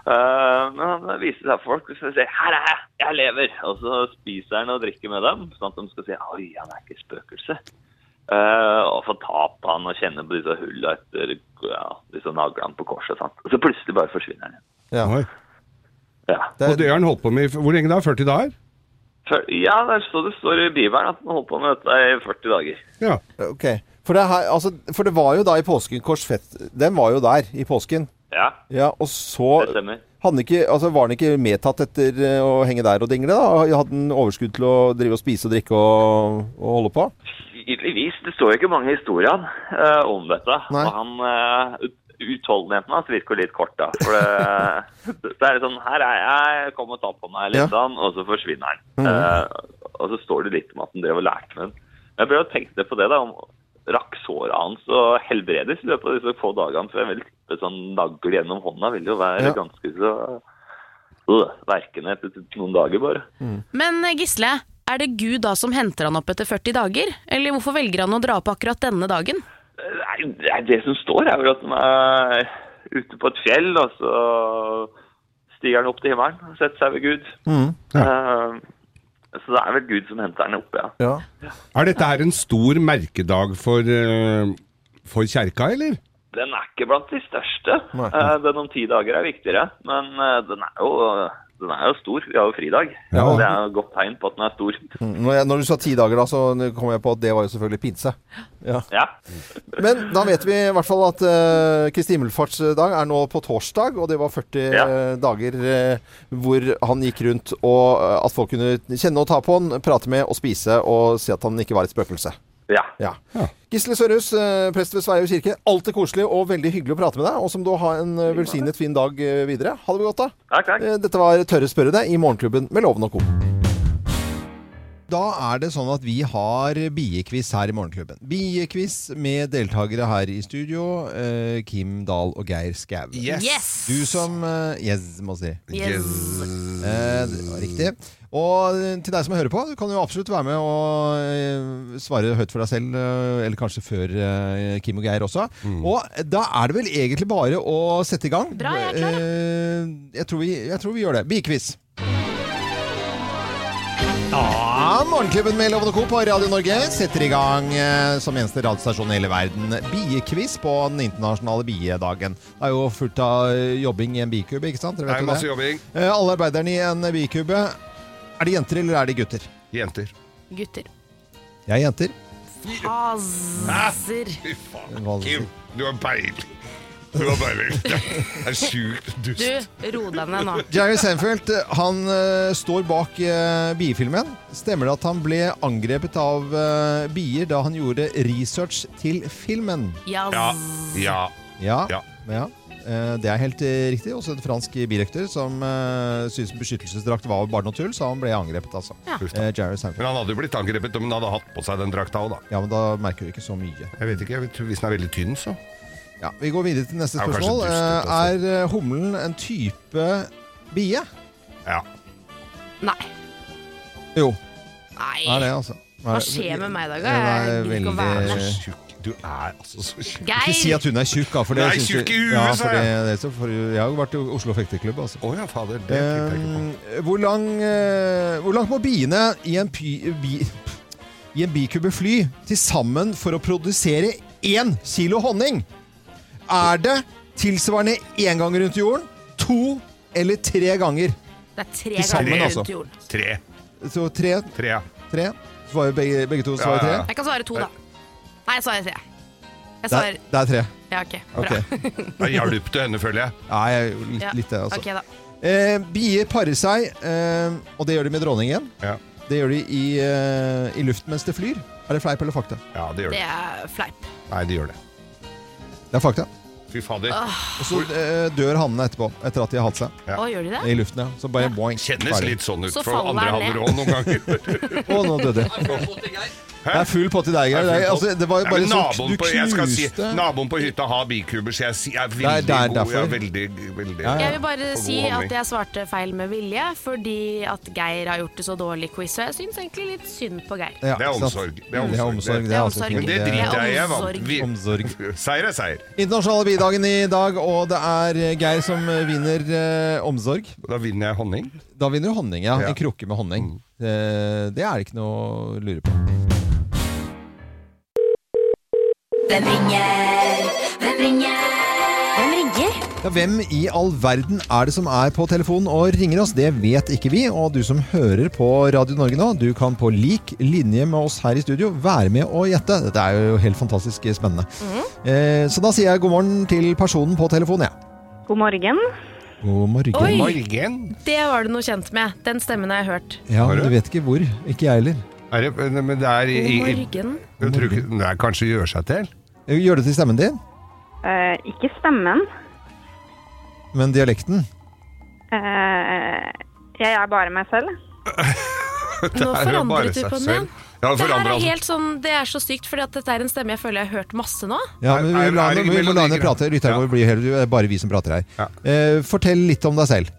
Eh, men han viser seg for folk og så sier 'her er jeg, jeg lever'. Og så spiser han og drikker med dem, sånn at de skal si 'oi, han er ikke spøkelse'. Eh, og få ta på han og kjenne på disse hullene etter ja, disse naglene på korset. og sånt. Og så plutselig bare forsvinner han igjen. Ja. Oi. Ja. Og det har han holdt på med i hvor lenge da? 40 dager? Fyr- Ja, det er så det står i Bibelen at man holdt på med dette i 40 dager. Ja. Ok. For det, er her, altså, for det var jo da i påsken Korsfett Den var jo der i påsken. Ja, Ja, og så det stemmer. hadde han ikke, altså, var han ikke medtatt etter eh, å henge der og dingle, da? Hadde han overskudd til å drive og spise og drikke og, og holde på? Tydeligvis. Det står jo ikke mange historier eh, om dette. Nei. Og han, eh, ut- utholdenheten hans virker litt kort, da. For det, det er litt sånn Her er jeg, kom og ta på meg, litt Ja. Mm. sånn. Og så forsvinner han. Eh, og så står det litt om at han drev og lærte med den. Jeg prøver å tenke litt på det, da. om Rakk såret hans å helbredes i løpet av disse få dagene? For jeg vil tippe sånn nagl gjennom hånda vil jo være Ja. ganske så øh, Verkende etter noen dager, bare. Men eh, Gisle, er det Gud da som henter han opp etter 40 dager? Eller hvorfor velger han å dra opp akkurat denne dagen? Nei, nei, det som står er vel at han er ute på et fjell, og så stiger han opp til himmelen og setter seg ved Gud. Mm, Eh, så det er vel Gud som henter han opp, ja. Ja. Er dette her en stor merkedag for, eh, for kjerka, eller? Den er ikke blant de største. Nei. Eh, den om ti dager er viktigere, men eh, den, er jo, den er jo stor. Vi har jo fridag. Ja. Det er jo et godt tegn på at den er stor. Når, jeg, når du sa ti dager, da, så kom jeg på at det var jo selvfølgelig pinse. Ja. Men da vet vi i hvert fall at uh, Kristi himmelfartsdag er nå på torsdag, og det var 40 Ja. eh, dager eh, hvor han gikk rundt, og eh, at folk kunne kjenne og ta på han, prate med og spise og si at han ikke var et spøkelse. ja. Ja. Ja. Gisle Sørhus, eh, prest ved Sveio kirke. Alltid koselig og veldig hyggelig å prate med deg. Og som du ha en eh, velsignet fin dag eh, videre. Ha det godt, da. Takk, takk. Eh, Dette var Tørre spørre deg i Morgenklubben med Loven og Co. Da er det sånn at vi har biekviss her i Morgenklubben. Biekviss med deltakere her i studio. eh, Kim Dahl og Geir Skau. Yes! Du som eh, Yes, må si. Yes. Eh, det var riktig. Og eh, til deg som hører på, du kan jo absolutt være med og eh, svare høyt for deg selv, eh, eller kanskje før eh, Kim og Geir også. Mm. Og eh, da er det vel egentlig bare å sette i gang. Bra, jeg er klar, Eh, jeg, tror vi, jeg tror vi gjør det. Bikviss. Ja, Morgenklubben med Lovende Co. på Radio Norge setter i gang eh, som eneste radiostasjon i hele verden biekviss på den internasjonale biedagen. Det er jo fullt av eh, jobbing i en bikube, ikke sant? Dere Det vet er jo masse jobbing. Eh, Alle arbeiderne i en bikube. Er det jenter eller er det gutter? Jenter. Gutter. Jeg er jenter. Faser. Fy faen. Hva- Kim, du har peiling. Du har peiling. Det er sjukt dust. Du, ro deg ned nå. Jerry Seinfeld eh, han eh, står bak eh, biefilmen. Stemmer det at han ble angrepet av eh, bier da han gjorde research til filmen? Jazz. Ja. Ja. Ja. Ja. Ja, eh, det er helt eh, riktig. Også en fransk birøkter som eh, syntes beskyttelsesdrakt var bare noe tull, så han ble angrepet, altså. Ja. Eh, Jerry Seinfeld. Men han hadde jo blitt angrepet om han hadde hatt på seg den drakta òg, da. Ja, men da merker du ikke så mye. Jeg vet ikke, jeg vet, Hvis den er veldig tynn, så. Ja, Vi går videre til neste Ja, kanskje spørsmål. dust altså. ut, Eh, er eh, humlen en type bie? Ja. Nei. Jo. Nei. Er det, altså. Er Hva det- skjer med meg i dag? da? Hun Jeg er gidder ikke å være Eh. veldig- med. Du er altså så tjukk. Geir! Ikke si at hun er tjukk, da. For det Nei, syns tjukk du- i huet, ja, sa for det, jeg. det, er så- for, jeg har jo vært i Oslo fekteklubb, altså. Å ja, fader. Det tenkte jeg ikke på. Eh, hvor, lang, eh, hvor langt må biene i en, py, bi, i en bikube fly til sammen for å produsere én kilo honning? Er det tilsvarende én gang rundt jorden, to eller tre ganger? Det er tre Til sammen, ganger altså. rundt jorden. Tre. Så tre, Tre, ja. tre. Svarer begge, begge to svarer Ja, ja, ja. tre? Jeg kan svare to, da. Nei, jeg svarer tre. Jeg Det er, svarer det er tre. Ja, OK. Bra. Ok. Da hjalp du henne, føler jeg. Nei, jeg er jo litt, Ja. litt det, altså. Ok, da. Eh, bier parer seg, eh, og det gjør de med dronningen. Det gjør de i, eh, i luft mens det flyr. Er det fleip eller fakta? Ja, det gjør Det det. er fleip. Nei, det gjør det. Det er fakta. Fy fader. Og så eh, dør hannene etterpå, etter at de har hatt seg. Ja. Å, gjør de det? I luften, ja. Så bare boing. Kjennes ferdig. litt sånn ut Så for faller andre han halver ned. òg noen ganger. Å, nå døde jeg. Det er full pott i deg, Geir. Det, er- altså, det var jo Nei, bare men så naboen Du på, jeg skal si, knuste Naboen på hytta har bikuber, så jeg si- jeg er er veldig der- god. Jeg derfor. er veldig, veldig Jeg vil bare for god si holdning. at jeg svarte feil med vilje, fordi at Geir har gjort det så dårlig quiz, så jeg syns egentlig litt synd på Geir. Ja, Det er sant. omsorg. Det Det er er omsorg. omsorg. Det er altså omsorg. fint. Men det Det er driter jeg i. jeg omsorg. vant. Vi- Seier er seier. Internasjonale bidagen i dag, og det er eh, Geir som eh, vinner eh, omsorg. Da vinner jeg honning. Da vinner du honning, ja. Ja. En krukke med honning. Eh, det er det ikke noe å lure på. Hvem ringer? Hvem ringer? Hvem ringer? Ja, hvem i all verden er det som er på telefonen og ringer oss? Det vet ikke vi. Og du som hører på Radio Norge nå, du kan på lik linje med oss her i studio være med og gjette. Dette er jo helt fantastisk spennende. Mm. Eh, så da sier jeg god morgen til personen på telefonen, jeg. God morgen. God morgen. Oi! Det var du noe kjent med. Den stemmen har jeg hørt. Ja, men du vet ikke hvor. Ikke jeg heller. Er det, men det er i, God i, morgen. jeg tror ikke, det er kanskje gjør seg til? Gjør det til stemmen din, Eh, ikke stemmen. men dialekten. Eh, jeg er bare meg selv. Det Nå er jo bare forandret du seg på den selv. igjen. Ja, Det her forandret er altså. helt sånn, det er så sykt, fordi at dette er en stemme jeg føler jeg har hørt masse nå. Ja, men Er- vi, er- la, er det vi må mellom la de henne prate. Lytterne våre blir helt- det er bare vi som prater her. Eh, fortell litt om deg selv.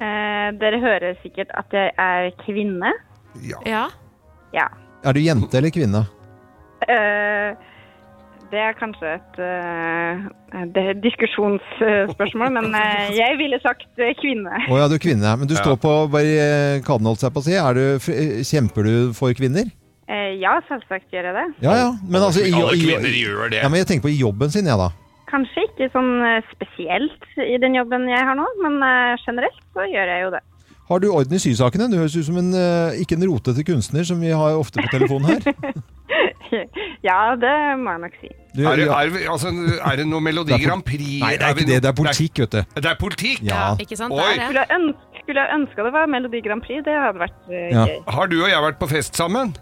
Eh, dere hører sikkert at jeg er kvinne. Ja. Ja. Er du jente eller kvinne? Eh, det er kanskje et eh, det er et diskusjonsspørsmål, men eh, jeg ville sagt eh, kvinne. Å ja, du er kvinne. Men du Ja. står på barrikaden, holdt jeg på å si. Er du, f- eh, kjemper du for kvinner? Eh, ja, selvsagt gjør jeg det. Ja, ja. Men altså, i, Alle i, kvinner gjør det. ja, men jeg tenker på i jobben sin, jeg, da. Kanskje ikke sånn eh, spesielt i den jobben jeg har nå, men eh, generelt så gjør jeg jo det. Har du orden i sysakene? Du høres ut som en eh, ikke en rotete kunstner, som vi har ofte på telefonen her. ja, det må jeg nok si. Du, Er det, ja. er, vi- altså, er det noe Melodi Det er pol- Grand Prix? Nei, det er vi ikke det. Det er no- politikk, vet du. Nei, Det er politikk? Ja. Ikke sant? Det Oi. er det. Skulle jeg, ønske, skulle jeg ønske det var Melodi Grand Prix, det hadde vært eh, Ja. gøy. Har du og jeg vært på fest sammen?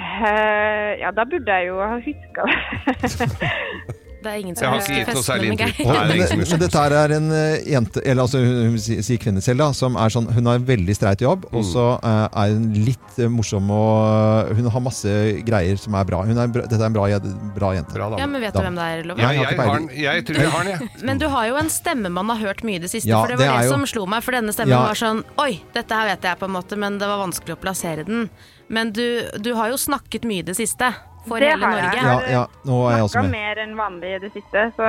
Eh, ja, da burde jeg jo ha huska det. Det er ingen Jeg som hører har ikke gitt noe festen, særlig men Geir- inntrykk. Og, Nei, det er men, ingen som men husker. dette her er en eh, jente, eller altså hun, hun sier sier kvinne selv, da, som er sånn Hun har en veldig streit jobb, Mm. og så eh, er hun litt eh, morsom og eh, Hun har masse greier som er bra. Hun er, bra- dette er en bra, jed- bra jente. Bra, da. Ja, men vet du hvem det er, Loven? Ja, Nei, jeg har ikke jeg, har peiling. den. jeg tror jeg har den, jeg. Men du har jo en stemme man har hørt mye i det siste, Ja, for det det var det, er jo- som slo meg. For denne stemmen Ja. var sånn Oi, dette her vet jeg på en måte, men det var vanskelig å plassere den. Men du, du har jo snakket mye i det siste. For Det hele har jeg. Norge. Ja, ja, nå er jeg også Snakka med. mer enn vanlig i det siste, så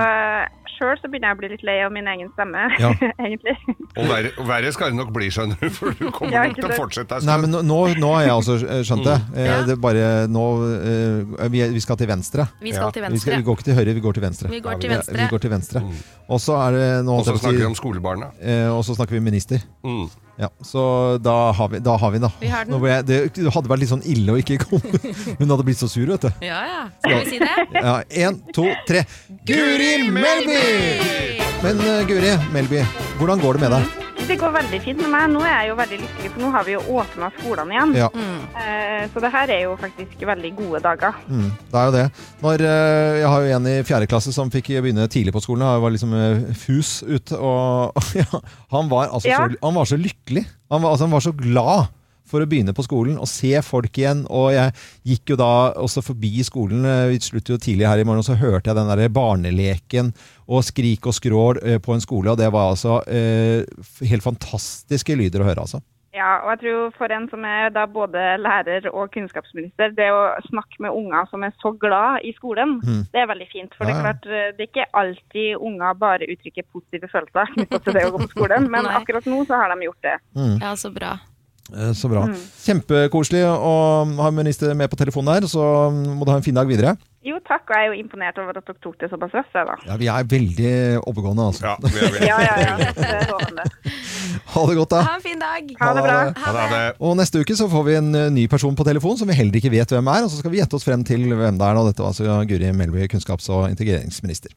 sjøl så begynner jeg å bli litt lei av min egen stemme, Ja. egentlig. Og verre, og verre skal det nok bli, skjønner du, for du kommer Ja, nok til ikke å sant. fortsette en Nei, stund. men nå, nå har jeg også eh, skjønt det. Mm. Eh, Ja. Det er bare nå eh, vi, vi skal til venstre. Vi skal til Vi, skal, venstre. vi går ikke til høyre, vi går til venstre. Vi går til Ja, venstre. Vi går til venstre. Og så er det nå Mm. Og så holdt jeg på å si, snakker vi om skolebarna. eh, Og så snakker vi minister. Mm. Ja, så da har vi, da har vi, den, da. Vi har den. Nå ble jeg, det, det hadde vært litt sånn ille å ikke komme. Hun hadde blitt så sur, vet du. Ja ja. Skal vi si det? Ja, Én, to, tre. Guri Melby! Men eh, Guri Melby, hvordan går det med deg? det går veldig fint med meg. Nå er jeg jo veldig lykkelig, for nå har vi jo åpna skolene Mm. igjen. Ja. Eh, Så det her er jo faktisk veldig gode dager. Mm, det er jo det. Når, eh, jeg har jo en i fjerde klasse som fikk begynne tidlig på skolen. Han var liksom eh, fus ut. Og, ja, han, var altså Ja. så, han var så lykkelig. Han var, altså, han var så glad for å begynne på skolen og se folk igjen. Og jeg gikk jo da også forbi skolen. eh, Vi slutter jo tidlig her i morgen, og så hørte jeg den der barneleken og skrik og skrål eh, på en skole. Og det var altså eh, f- helt fantastiske lyder å høre, altså. Ja, og jeg tror for en som er da både lærer og kunnskapsminister, det å snakke med unger som er så glad i skolen, Mm. det er veldig fint. For det Ja, er ja. klart, eh, det er ikke alltid unger bare uttrykker positive følelser knyttet til det å gå på skolen, men akkurat nå så har de gjort det. Mm. Ja, så bra. Eh, Så bra. Mm. Kjempekoselig å ha minister med på telefonen her, så må du ha en fin dag videre. Jo takk, og jeg er jo imponert over at dere tok det såpass raskt, jeg da. Ja, vi er veldig oppegående, altså. Ja, ja, ja. Det er lovende. ha det godt, da. en fin dag. Ha det bra. Og neste uke så får vi en eh, ny person på telefon som vi heller ikke vet hvem er, og så skal vi gjette oss frem til hvem det er. Og dette var altså Guri Melby, kunnskaps- og integreringsminister.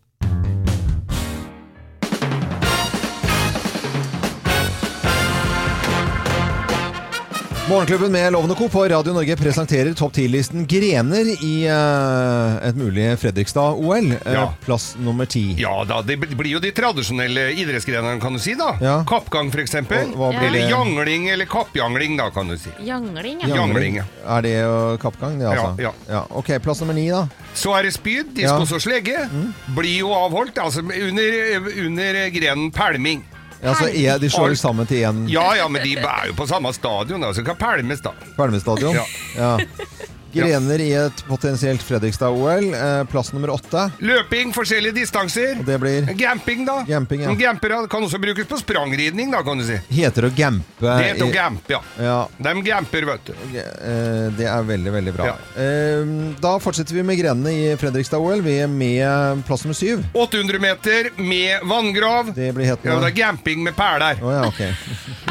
Morgenklubben med Lovende Co. på Radio Norge presenterer topp 10-listen Grener i eh, et mulig Fredrikstad-OL. Eh, Ja. Plass nummer ti. Ja da, det bl- blir jo de tradisjonelle idrettsgrenene, kan du si da. Kappgang for eksempel. Og hva blir Eller det? jangling, eller kappjangling da, kan du si. Jangling, ja. Jangling, ja. Er det jo kappgang, det, altså? Ja, Ok, plass nummer ni, da. Så er det spyd, diskos og slegge. Mm. Blir jo avholdt, altså under, under grenen pelming. Ja, så er de slår sammen til én Ja, ja, men de er jo på samme stadion, da, så det kan pelmes da. Kvalmestadion. Ja. Ja. Grener i et potensielt Fredrikstad-OL. Eh, Plass nummer åtte. Løping, forskjellige distanser. Det blir Gamping, da. Gamping, ja. Gamper ja, kan også brukes på sprangridning, da, kan du si. Heter å gampe. Det heter Eh, å i- gampe, ja. Ja, De gamper, vet du. eh, det er veldig, veldig bra. Eh, Da fortsetter vi med grenene i Fredrikstad-OL. Vi er med plass nummer syv. 800 meter med vanngrav. Det blir hetende. Ja, det er gamping med perler. Å ja, ok.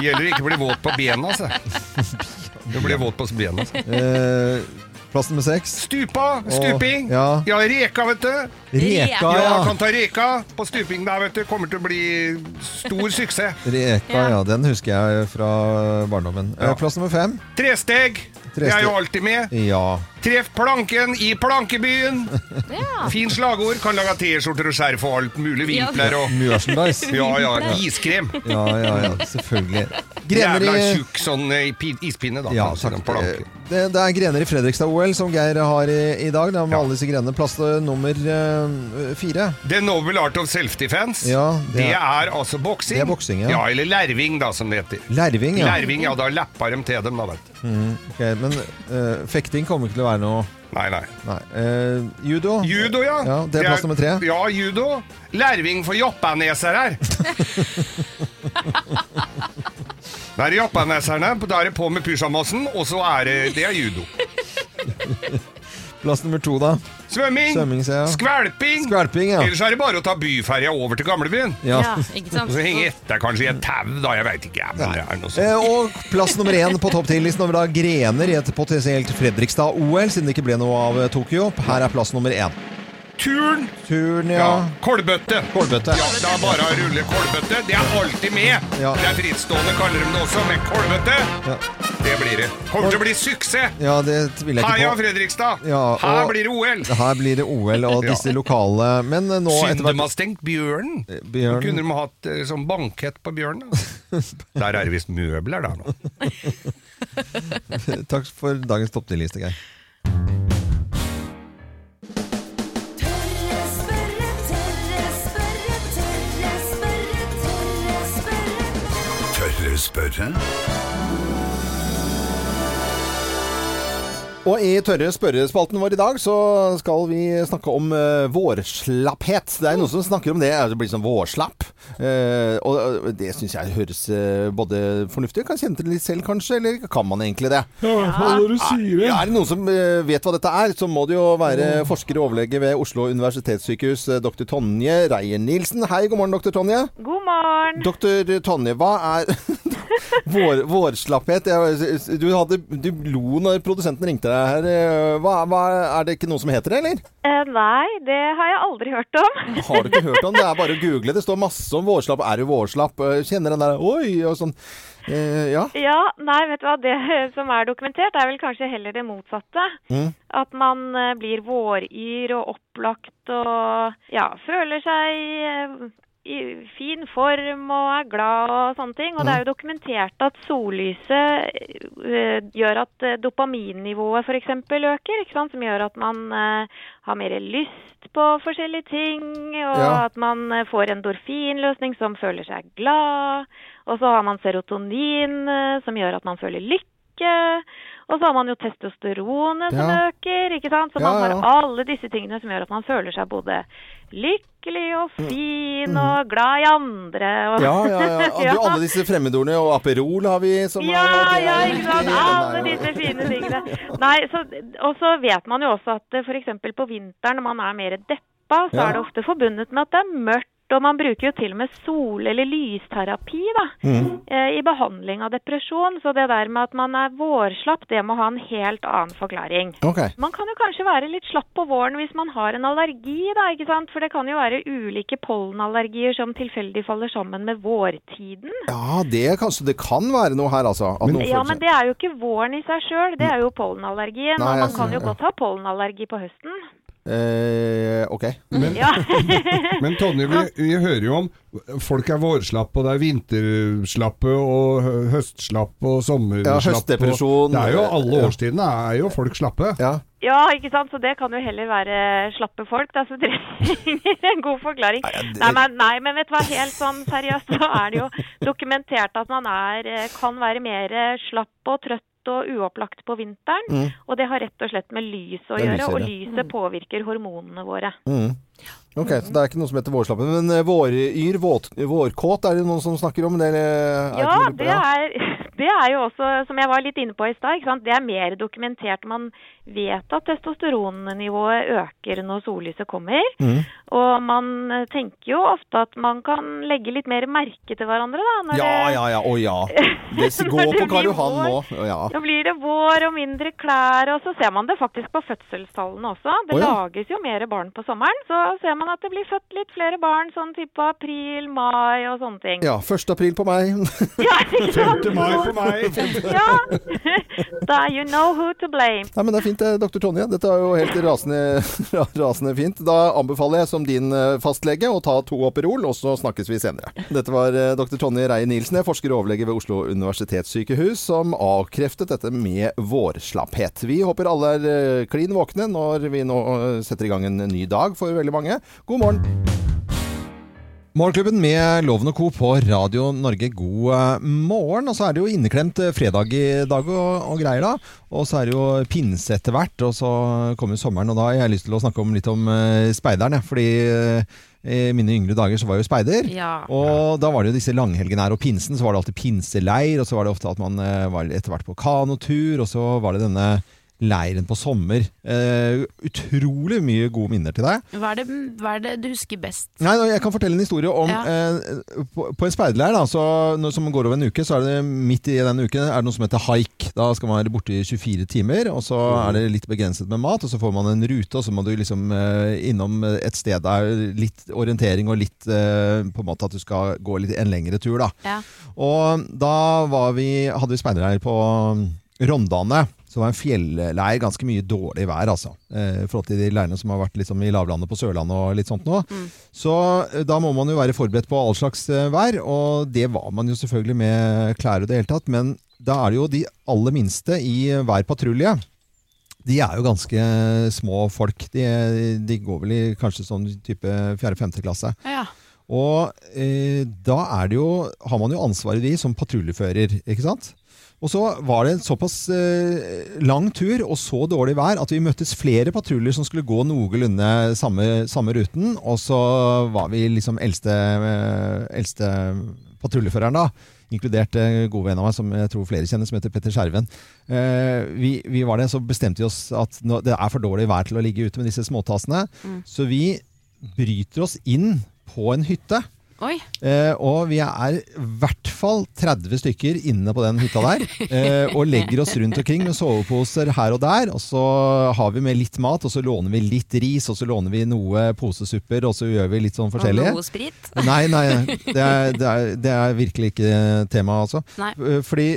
Gjelder ikke å bli våt på bena, altså. Du blir våt på bena. altså. Eh, Plass nummer seks. Stupa, stuping. Og- ja. ja, reka, vet du. Reka, ja. Kan ta reka på stuping der, vet du. Kommer til å bli stor suksess. Reka, ja. Den husker jeg fra barndommen. Eh, Ja. Plass nummer fem. Tresteg. Det er jo Tresteg. alltid med. Ja. Treff planken i plankebyen. Fin slagord. Kan lage T-skjorter og skjerf og alt mulig. Ja. Vimpler og Mørchandise. Ja, ja. Vimpler. Iskrem. Ja, ja, ja, selvfølgelig. Grener i- Jævla tjukk sånn eh, pi- ispinne, da. Ja, kan du si, takk. den planken. Det, det er grener i Fredrikstad-OL som Geir har i, i dag. Da, med alle disse grenene. Plass til nummer eh, fire. The Noble Art of Self-Defense. Ja, det- det, er altså boksing. Det er boksing, ja. Eller lerving, da, som det heter. Lerving, ja. Lerving, ja, Da lapper de til dem, da, vet du. Mm, ok, men eh, fekting kommer ikke til å være noe Nei, nei. Eh, judo? Judo, ja. ja. Det er plass nummer tre. Ja, judo. Lerving for jappaneser her. Da er det jappaneserne, da er det på med pysjamasen, og så er det Det er judo. Plass nummer to, da. Svømming. Svømming, sier jeg. Skvelping. Skvelping, ja. Ellers er det bare å ta byferja over til gamlebyen. Ja. Ja, ikke sant. Og så henge etter kanskje i et tau, da. Jeg veit ikke. Men det er noe sånt. Eh, og plass nummer én på topp ti-listen over da grener i et potensielt Fredrikstad-OL, siden det ikke ble noe av eh, Tokyo. Her er plass nummer én. Turn. Turn, ja. Ja, Kolbøtte. Kolbøtte. Ja, det er bare å rulle kolbøtte. Det er alltid med. Ja. Det er frittstående, kaller de det også, men kolbøtte, Ja. det blir det. Kommer til å bli suksess! Ja, det tviler jeg ikke på. Heia Fredrikstad! Ja, Her og- blir det OL! Her blir det OL og disse lokale Men eh, nå etter Synd de hvert Eh, har stengt bjørnen. bjørnen. Kunne de hatt eh, sånn bankett på bjørnen? da? Der er det visst møbler der nå. Takk for dagens topp 10-liste, Geir. Tørre spørre. Og i tørre spørrespalten vår i dag så skal vi snakke om eh, vårslapphet. Det er noen som snakker om det. altså, Det blir sånn vårslapp. Eh, og og det syns jeg høres eh, både fornuftig Kan kjenne til det litt selv, kanskje. Eller kan man egentlig det? Ja, i hvert fall når du sier det. Ja, er det noen som eh, vet hva dette er, så må det jo være forsker og overlege ved Oslo universitetssykehus, eh, dr. Tonje Reier Nilsen. Hei, god morgen, dr. Tonje. God morgen. Dr. Tonje, hva er Vår, vårslapphet. Jeg, du, hadde, du lo når produsenten ringte deg her. Eh, Hva, hva, er det ikke noe som heter det, eller? Eh, nei, det har jeg aldri hørt om. Har du ikke hørt om det? Det er bare å google. Det står masse om vårslapp. Er du vårslapp? Eh, Kjenner den der oi og sånn. Eh, ja. Ja, nei, vet du hva. Det som er dokumentert, er vel kanskje heller det motsatte. Mm. At man eh, blir våryr og opplagt og ja, føler seg eh, i fin form og er glad og sånne ting. Og det er jo dokumentert at sollyset eh, gjør at eh, dopaminnivået f.eks. øker, ikke sant? som gjør at man eh, har mer lyst på forskjellige ting, og Ja. at man eh, får endorfinløsning som føler seg glad. Og så har man serotonin eh, som gjør at man føler lykke. Og så har man jo testosteronet som Ja. øker, ikke sant. Ja, Så man har ja. alle disse tingene som gjør at man føler seg både lykkelig og Mm. fin og glad i andre. Og Ja, ja, ja. Du, alle disse fremmedordene og Aperol har vi som ja, ja, er, det er ikke riktig. sant. Nei, Alle nei. disse fine tingene. Nei, så, og så vet man jo også at f.eks. på vinteren når man er mer deppa, så Ja. er det ofte forbundet med at det er mørkt. Og man bruker jo til og med sol- eller lysterapi da, eh, i behandling av depresjon. Så det der med at man er vårslapp, det må ha en helt annen forklaring. Ok. Man kan jo kanskje være litt slapp på våren hvis man har en allergi, da, ikke sant? For det kan jo være ulike pollenallergier som tilfeldig faller sammen med vårtiden. Ja, det, kanskje, det kan være noe her, altså. At noen Ja, føler men seg- det er jo ikke våren i seg sjøl, det er jo pollenallergien. Nei, og man jeg kan ser- jo ja. godt ha pollenallergi på høsten. Eh, ok. Men, Ja. men Tonje, vi, vi hører jo om folk er vårslappe, og det er vinterslappe, og hø- høstslappe, og sommerslappe. Ja, og høstdepresjon. Det er jo alle Ja. årstidene, er jo folk slappe. Ja, ikke sant? Så det kan jo heller være slappe folk, da, så dere trenger en god forklaring. Nei, men, nei, men vet du hva, helt sånn seriøst, så er det jo dokumentert at man er, eh, kan være mer eh, slapp og trøtt og uopplagt på vinteren. Mm. Og det har rett og slett med lys å Det er gjøre, Mm. og lysere. lyset påvirker hormonene våre. Mm. Ok, så det er ikke noe som heter vårslappe. Men eh, våryr, våt, vårkåt, er det noen som snakker om? Det, eller, Ja, ikke noe- det er, det er jo også, som jeg var litt inne på i stad, ikke sant? det er mer dokumentert. Man vet at testosteronnivået øker når sollyset kommer. Mm. Og man eh, tenker jo ofte at man kan legge litt mer merke til hverandre, da. Når Ja, det, ja, ja. Å ja. Det s- Når gå det på Karl blir Johan nå. vår. Å, Ja. Nå blir det vår og mindre klær, og så ser man det faktisk på fødselstallene også. Det Å, ja. lages jo mer barn på sommeren, så ser man at det blir født litt flere barn sånn type april, mai og sånne ting. ja. 1. april på meg. Femte mai på meg. ja. Da you know who to blame. Nei, men Det er fint, det, doktor Tonje. Dette er jo helt rasende, rasende fint. Da anbefaler jeg som din eh, fastlege å ta to Operol, og så snakkes vi senere. Dette var eh, doktor Tonje Reie Nilsen, jeg forsker og overlege ved Oslo universitetssykehus, som avkreftet dette med vårslapphet. Vi håper alle er eh, klin våkne når vi nå eh, setter i gang en ny dag for veldig mange. God morgen! Morgenklubben med Loven og Co. på Radio Norge, god eh, morgen. Og så er det jo inneklemt eh, fredag i dag og, og greier, da. Og så er det jo pinse etter hvert, og så kommer sommeren. Og da har jeg lyst til å snakke om litt om eh, speideren, jeg. Fordi eh, i mine yngre dager så var jeg jo speider. Ja. Og da var det jo disse langhelgene her. Og pinsen, så var det alltid pinseleir. Og så var det ofte at man eh, var etter hvert på kanotur. Og så var det denne leiren på sommer. Eh, utrolig mye gode minner til deg. Hva er, det, hva er det du husker best? Nei, nå, Jeg kan fortelle en historie om Ja. eh, på, på en speiderleir da, så, når, som går over en uke, så er det midt i den uken er det noe som heter haik. Da skal man være borte i 24 timer, og så er det litt begrenset med mat, og så får man en rute, og så må du liksom eh, innom et sted der litt orientering og litt eh, på en måte at du skal gå litt, en lengre tur. da. Og da var vi, hadde vi speiderleir på um, Rondane. Så det var en fjelleir. Ganske mye dårlig vær, altså. Eh, I forhold til de leirene som har vært liksom i lavlandet på Sørlandet og litt sånt nå. Så eh, da må man jo være forberedt på all slags eh, vær, og det var man jo selvfølgelig med klær og det hele tatt. Men da er det jo de aller minste i eh, hver patrulje. De er jo ganske eh, små folk. De, eh, de går vel i kanskje sånn type 4.-5. klasse. Ja. Og eh, da er det jo, har man jo ansvaret de som patruljefører, ikke sant? Og så var det en såpass eh, lang tur og så dårlig vær at vi møttes flere patruljer som skulle gå noenlunde samme, samme ruten, og så var vi liksom eldste, eh, eldste patruljeføreren da, inkludert eh, god venn av meg som jeg tror flere kjenner, som heter Petter Skjerven. Eh, vi, vi var det, så bestemte vi oss at nå, det er for dårlig vær til å ligge ute med disse småtassene, Mm. så vi bryter oss inn på en hytte. Oi. Eh, og vi er i hvert fall 30 stykker inne på den hytta der. Eh, og legger oss rundt omkring med soveposer her og der. Og så har vi med litt mat, og så låner vi litt ris, og så låner vi noe posesupper, og så gjør vi litt sånn forskjellig. Og noe sprit. Nei, nei. Det er, det er, det er virkelig ikke tema, altså. Nei. Eh, Fordi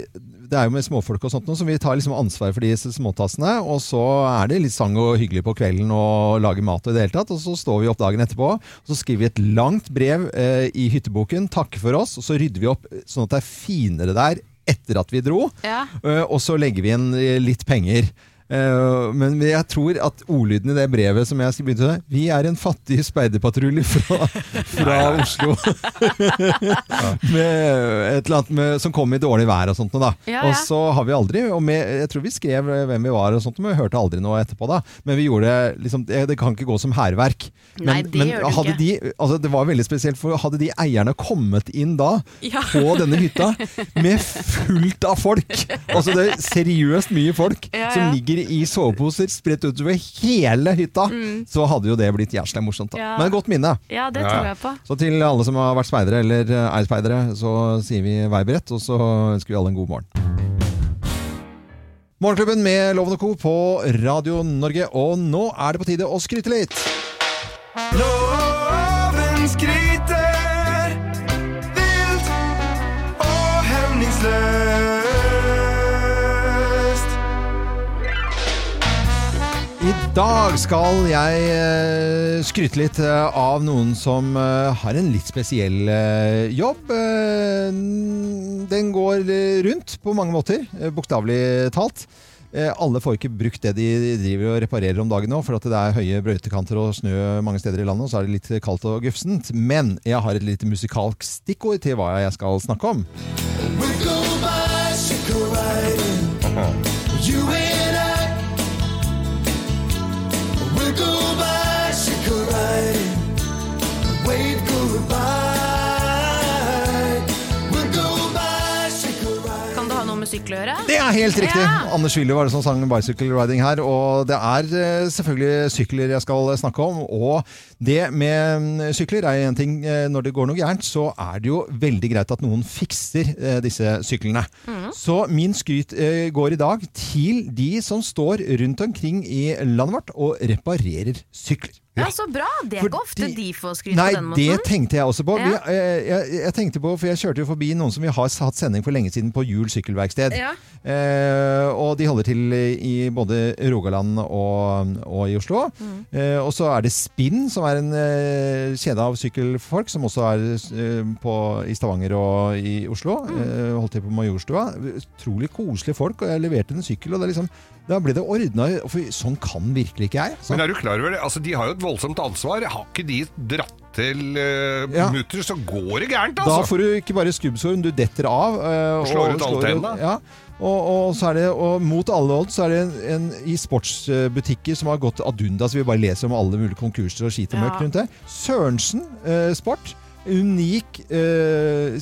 det er jo med småfolk og sånt nå, så vi tar liksom ansvar for de småtassene. Og så er det litt sang og hyggelig på kvelden og lager mat og i det hele tatt. Og så står vi opp dagen etterpå, og så skriver vi et langt brev eh, i hytteboken, takker for oss, og så rydder vi opp eh, sånn at det er finere der etter at vi dro. Ja. Eh, og så legger vi inn eh, litt penger. Eh, men jeg tror at ordlyden i det brevet som jeg begynte med Vi er en fattig speiderpatrulje fra, fra Oslo. med et eller annet med, som kom i dårlig vær og sånt noe, da. Ja, ja. Og så har vi aldri og med, Jeg tror vi skrev eh, hvem vi var og sånt, men vi hørte aldri noe etterpå da. Men vi gjorde liksom Det, det kan ikke gå som hærverk. Men, Nei, det men gjør det hadde ikke. de altså Det var veldig spesielt, for hadde de eierne kommet inn da, Ja. på denne hytta, med fullt av folk Altså det er seriøst mye folk Ja, som ja. ligger i soveposer spredt utover hele hytta, Mm. så hadde jo det blitt jævla morsomt. da. Ja. Men godt minne. Ja, det tror jeg på. Så til alle som har vært speidere eller eh, er speidere, så sier vi vær beredt, og så ønsker vi alle en god morgen. Morgenklubben med Loven og Co. på Radio Norge, og nå er det på tide å skryte litt. Loven skryter vilt og hemningsløst. I dag skal jeg eh, skryte litt eh, av noen som eh, har en litt spesiell eh, jobb. Eh, n- Den går eh, rundt på mange måter, eh, bokstavelig talt. Eh, Alle får ikke brukt det de driver og reparerer om dagen nå, for at det er høye brøytekanter og snø mange steder i landet, og så er det litt kaldt og gufsent. Men jeg har et lite musikalsk stikkord til hva jeg skal snakke om. Wiggle bicycle riding, you and I. Wiggle bicycle riding, wave goodbye. Wiggle bicycle riding. Kan det ha noe med sykkel å gjøre? Det er helt riktig! Ja. Anders Willy var det som sang 'Bicycle Riding' her. Og det er eh, selvfølgelig sykler jeg skal snakke om. Og det med mm, sykler er en ting. eh, Når det går noe gærent, så er det jo veldig greit at noen fikser eh, disse syklene. Mm. Så min skryt eh, går i dag til de som står rundt omkring i landet vårt og reparerer sykler. Ja, så bra! Det er ikke ofte de får skryt Nei, på den måten. det tenkte jeg også på. Ja. Vi, eh, jeg, jeg tenkte på, for jeg kjørte jo forbi noen som vi har hatt sending for lenge siden på Hjul sykkelverksted. Ja. Eh, og de holder til i både Rogaland og, og i Oslo. Eh, og så er det Spinn, som er en eh, kjede av sykkelfolk, som også er eh, på, i Stavanger og i Oslo. Eh, holdt til på Majorstua. Utrolig koselige folk. Og jeg leverte en sykkel, og det er liksom, da ble det ordna. For sånn kan virkelig ikke jeg. Men er du klar over det? Altså, De har jo et voldsomt ansvar. Har ikke de dratt til uh, Ja. mutter, så går det gærent, Da altså! får du ikke bare skubbsår, men du detter av. eh, Og slår ut alle tennene. Ja. Og, og, så er det, og mot alle odds så er det en, en i sportsbutikker som har gått ad undas. Vi bare leser om alle mulige konkurser og skit og Ja. møkk rundt det. Sørensen eh, Sport. Unik eh,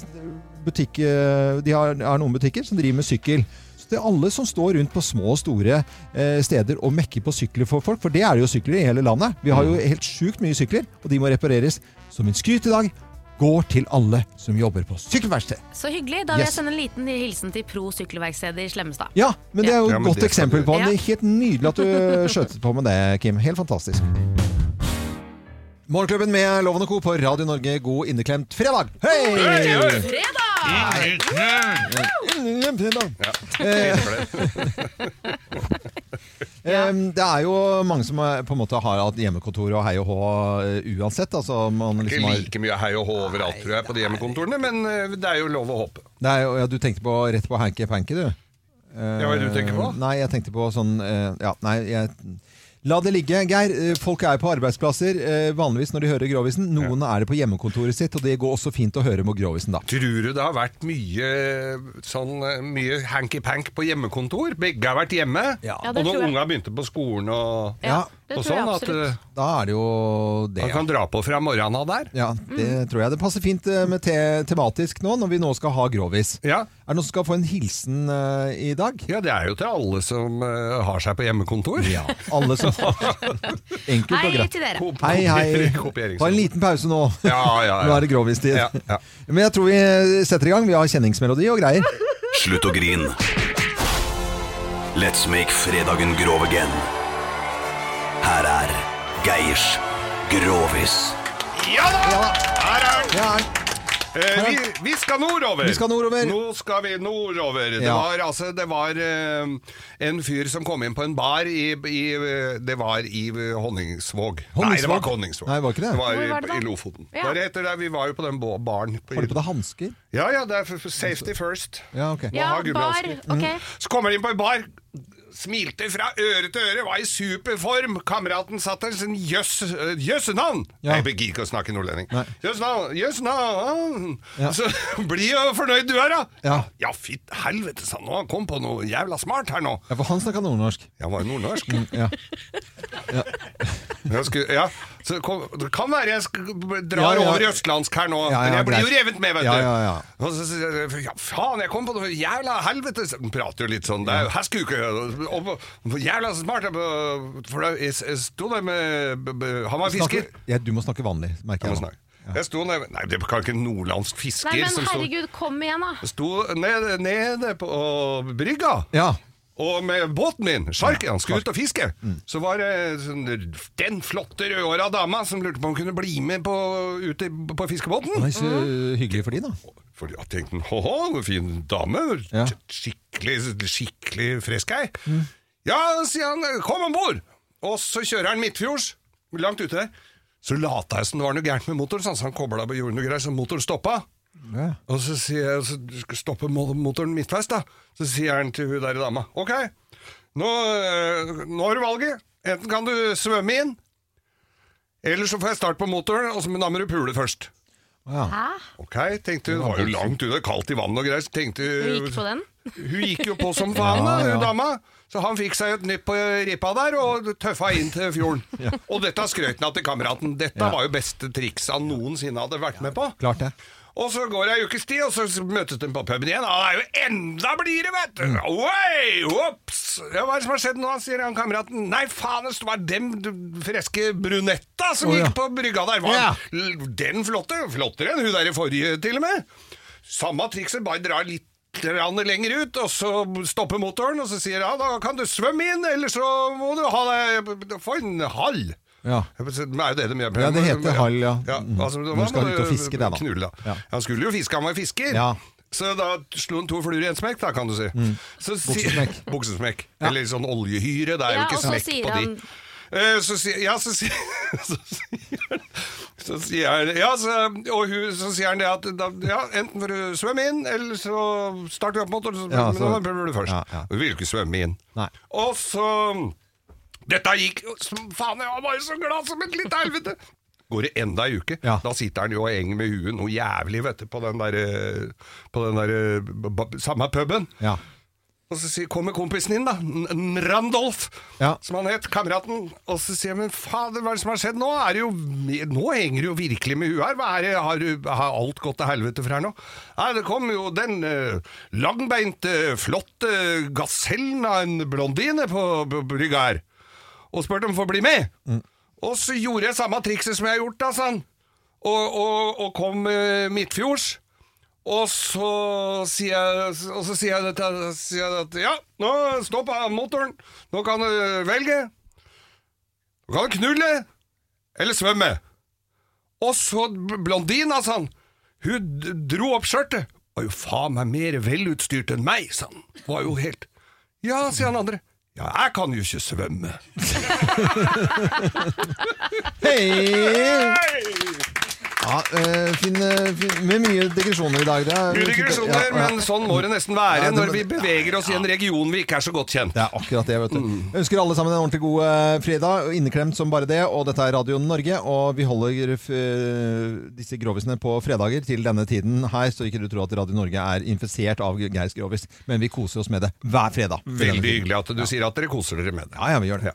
butikk eh, De har, har noen butikker som driver med sykkel. Så til alle som står rundt på små og store eh, steder og mekker på sykler for folk, for det er det jo sykler i hele landet. Vi har jo helt sjukt mye sykler, og de må repareres. Så min skryt i dag går til alle som jobber på sykkelverksted. Så hyggelig. Da vil Yes. jeg sende en liten hilsen til Pro Sykkelverksted i Slemmestad. Ja, men det er jo Ja, et men godt det skal eksempel du på det. Det gjøre. er Ja. Helt nydelig at du skjøtet på med det, Kim. Helt fantastisk. Morgenklubben med Loven og Co. på Radio Norge, god inneklemt fredag! Hei! Eh, Em, Det er jo mange som eh, på en måte har hatt hjemmekontor og hei og hå eh, uansett. Altså, man Ikke liksom har, like mye hei og hå overalt, tror jeg, på de hjemmekontorene, men eh, det er jo lov å håpe. det er, jo- ja, du tenkte på rett på hanky panky, du. Ja, hva er det du tenker på? Eh, Nei, jeg tenkte på sånn eh, Ja, nei, jeg La det ligge, Geir. Eh, Folk er på arbeidsplasser eh, vanligvis når de hører Grovisen. Noen er det på hjemmekontoret sitt, og det går også fint å høre med Grovisen, da. Tror du det har vært mye sånn eh, mye hanky-pank på hjemmekontor? Begge har vært hjemme, Ja, og det når tror jeg. unga begynte på skolen og Ja, Det Og tror jeg sånn at absolutt. eh, Da er det jo det. man kan dra på fra morgenen av der. Ja, det Mm. tror jeg. Det passer fint eh, med te tematisk nå, når vi nå skal ha grovis. Er det noen som skal få en hilsen eh, i dag? Ja, det er jo til alle som eh, har seg på hjemmekontor. Ja, alle som Enkelt Hei og greit. til dere. Kopi- Hei, hei. kopieringsrom. Ta en liten pause nå. Ja, ja, ja. Nå er det grovistid. Men jeg tror vi eh, setter i gang. Vi har kjenningsmelodi og greier. Slutt å grin. Let's make fredagen grov again. Her er Geirs Grovis. Ja da! Her er den! Eh, vi, vi skal nordover! Vi skal nordover. Nå skal vi nordover. Det Ja. var, altså, det var eh, en fyr som kom inn på en bar i, i eh, Det var i eh, Honningsvåg. Nei, det var ikke Honningsvåg. Nei, det var ikke det. i, Hvor var det da? i Lofoten. Ja. Det var etter der, vi var jo på den bo- baren. på- Har du på deg hansker? Ja, ja, det er for- for safety first. Ja, ok. Må ha gummihansker. ok. Så kommer de inn på en bar. Smilte fra øre til øre, var i superform. Kameraten satt der sin jøss... øh, Jøssenavn! Ja. Jeg begir ikke å snakke nordlending. Nei. Jøssenavn! Jøssenavn! Ja. Så bli jo fornøyd du er, da! Ja. ja fitt helvete, sa han. Nå han kom på noe jævla smart her nå. Ja, for han snakka nordnorsk. Jeg var jo nordnorsk. Mm, ja. Jeg skulle, ja. Så kom, det kan være jeg sk- drar Ja, ja. over i østlandsk her nå, Ja, ja, men jeg blir jo greit. revet med, vet Ja, du. ja, ja. Og så sier jeg ja, faen, jeg kom på noe jævla helvete så- Den prater jo litt sånn, det er jo heskuke og, og, Jævla smart jeg, For jeg, jeg sto der med b- b- Han var fisker Snakker- Ja, du må snakke vanlig, merker jeg. nå. Jeg sto der, nei det kan ikke en nordlandsk fisker Nei, men som sto- herregud, kom igjen, da. sto nede, nede på brygga. Og med båten min, sjarken, han skulle ut og fiske. Så var det sånn, den flotte rødhåra dama som lurte på om hun kunne bli med på, ut i, på fiskebåten. Nei, så hyggelig for de, da. For jeg tenkte, hå-hå, hvor fin dame. Skikkelig, skikkelig fresk ei. Ja, sier han, kom om bord! Og så kjører han midtfjords, langt ute der. Så lata jeg som det var noe gærent med motoren, sånn, så han kobla på jorden og greier, så motoren stoppa. Og så sier jeg, så du skal stoppe mo- motoren midtveis da. Så sier han til hun der dama, ok, nå, øh, nå har du valget. Enten kan du svømme inn, eller så får jeg start på motoren, og så, men da må du pule først. Hæ? Ok, tenkte hun, det var jo langt ute, kaldt i vann og greier, så tenkte Du gikk på den? hun gikk jo på som faen, da, Ja, ja. hun dama. Så han fikk seg et nytt på ripa der, og tøffa inn til fjorden. Og dette skrøt han av til kameraten. Dette var jo beste triks han noensinne hadde vært med på. Klart det. Og så går det ei ukes tid, og så møtes de på puben igjen. Han er jo enda blidere, vet du! Oi, Ops! Ja, hva er det som har skjedd nå, sier han kameraten. Nei, faen, det var dem d- freske brunetta som Å, ja. gikk på brygga der. Var l- Den flotte. Flottere enn hun der i forrige, til og med. Samme trikset, bare drar litt grann lenger ut, og så stopper motoren, og så sier han da kan du svømme inn, eller så må du ha deg Få en hall. Ja. Det er jo det de gjør. Ja, det heter hall, ja. Ja, Mm. altså, da Nå skal må du ut og du fiske der, da. Knulle, da. Ja. Han skulle jo fiske, han var fisker. Ja. Mm. Så da slo han to fluer i en smekk, da, kan du si. Så si- Buksesmekk. Buksesmekk. Eller sånn oljehyre, det er Ja, jo ikke og så smekk sier på han- de. Eh, Så sier, ja, så sier, så sier, han- så sier han ja, så, Og hun, så sier han det at da, ja, enten får du svømme inn, eller så starter vi opp motoren, så, Ja, men så- da prøver du først. Ja, Hun vil jo ikke svømme inn. Og så Dette gikk som faen, jeg var bare så glad som et lite helvete! Går det enda ei uke, da sitter han jo og henger med huet noe jævlig vet du, på den der, eh, på den der eh, ba- ba- samme puben. Og så sier, kommer kompisen inn, da. N- N- Randolph, som han het, kameraten. Og så sier jeg, men fader, hva er det som har skjedd? Nå, er det jo, nå henger det jo virkelig med huet her. Hva er det, har, du- har alt gått til helvete for her nå? Nei, det kom jo den eh, langbeinte, flotte gasellen av en blondine på på brygga her. Og spurte om å få bli med. Og så gjorde jeg samme trikset som jeg har gjort, da, sa han. Og, og, og kom eh, midtfjords. Og så sier jeg, og så sier jeg, dette, sier jeg at ja, nå stopp av motoren. Nå kan du velge. Du kan knulle eller svømme. Og så bl- blondina, sa han. Hun d- dro opp skjørtet. Var jo faen meg mer velutstyrt enn meg, sa han. Var jo helt Ja, sier han andre. Ja, jeg kan jo ikke svømme. Hei! Ja, eh, fin, eh, fin, med mye digresjoner i dag. Det er- Mye digresjoner, men sånn må det nesten være når vi beveger oss i en region vi ikke er så godt kjent. Det er akkurat det, vet du. Jeg ønsker alle sammen en ordentlig god eh, fredag, og inneklemt som bare det. Og dette er Radio Norge, og vi holder eh, disse grovisene på fredager til denne tiden her, så ikke du tror at Radio Norge er infisert av Geirs grovis. Men vi koser oss med det hver fredag. Veldig hyggelig at du sier at dere koser dere med det. Ja, ja, vi gjør det.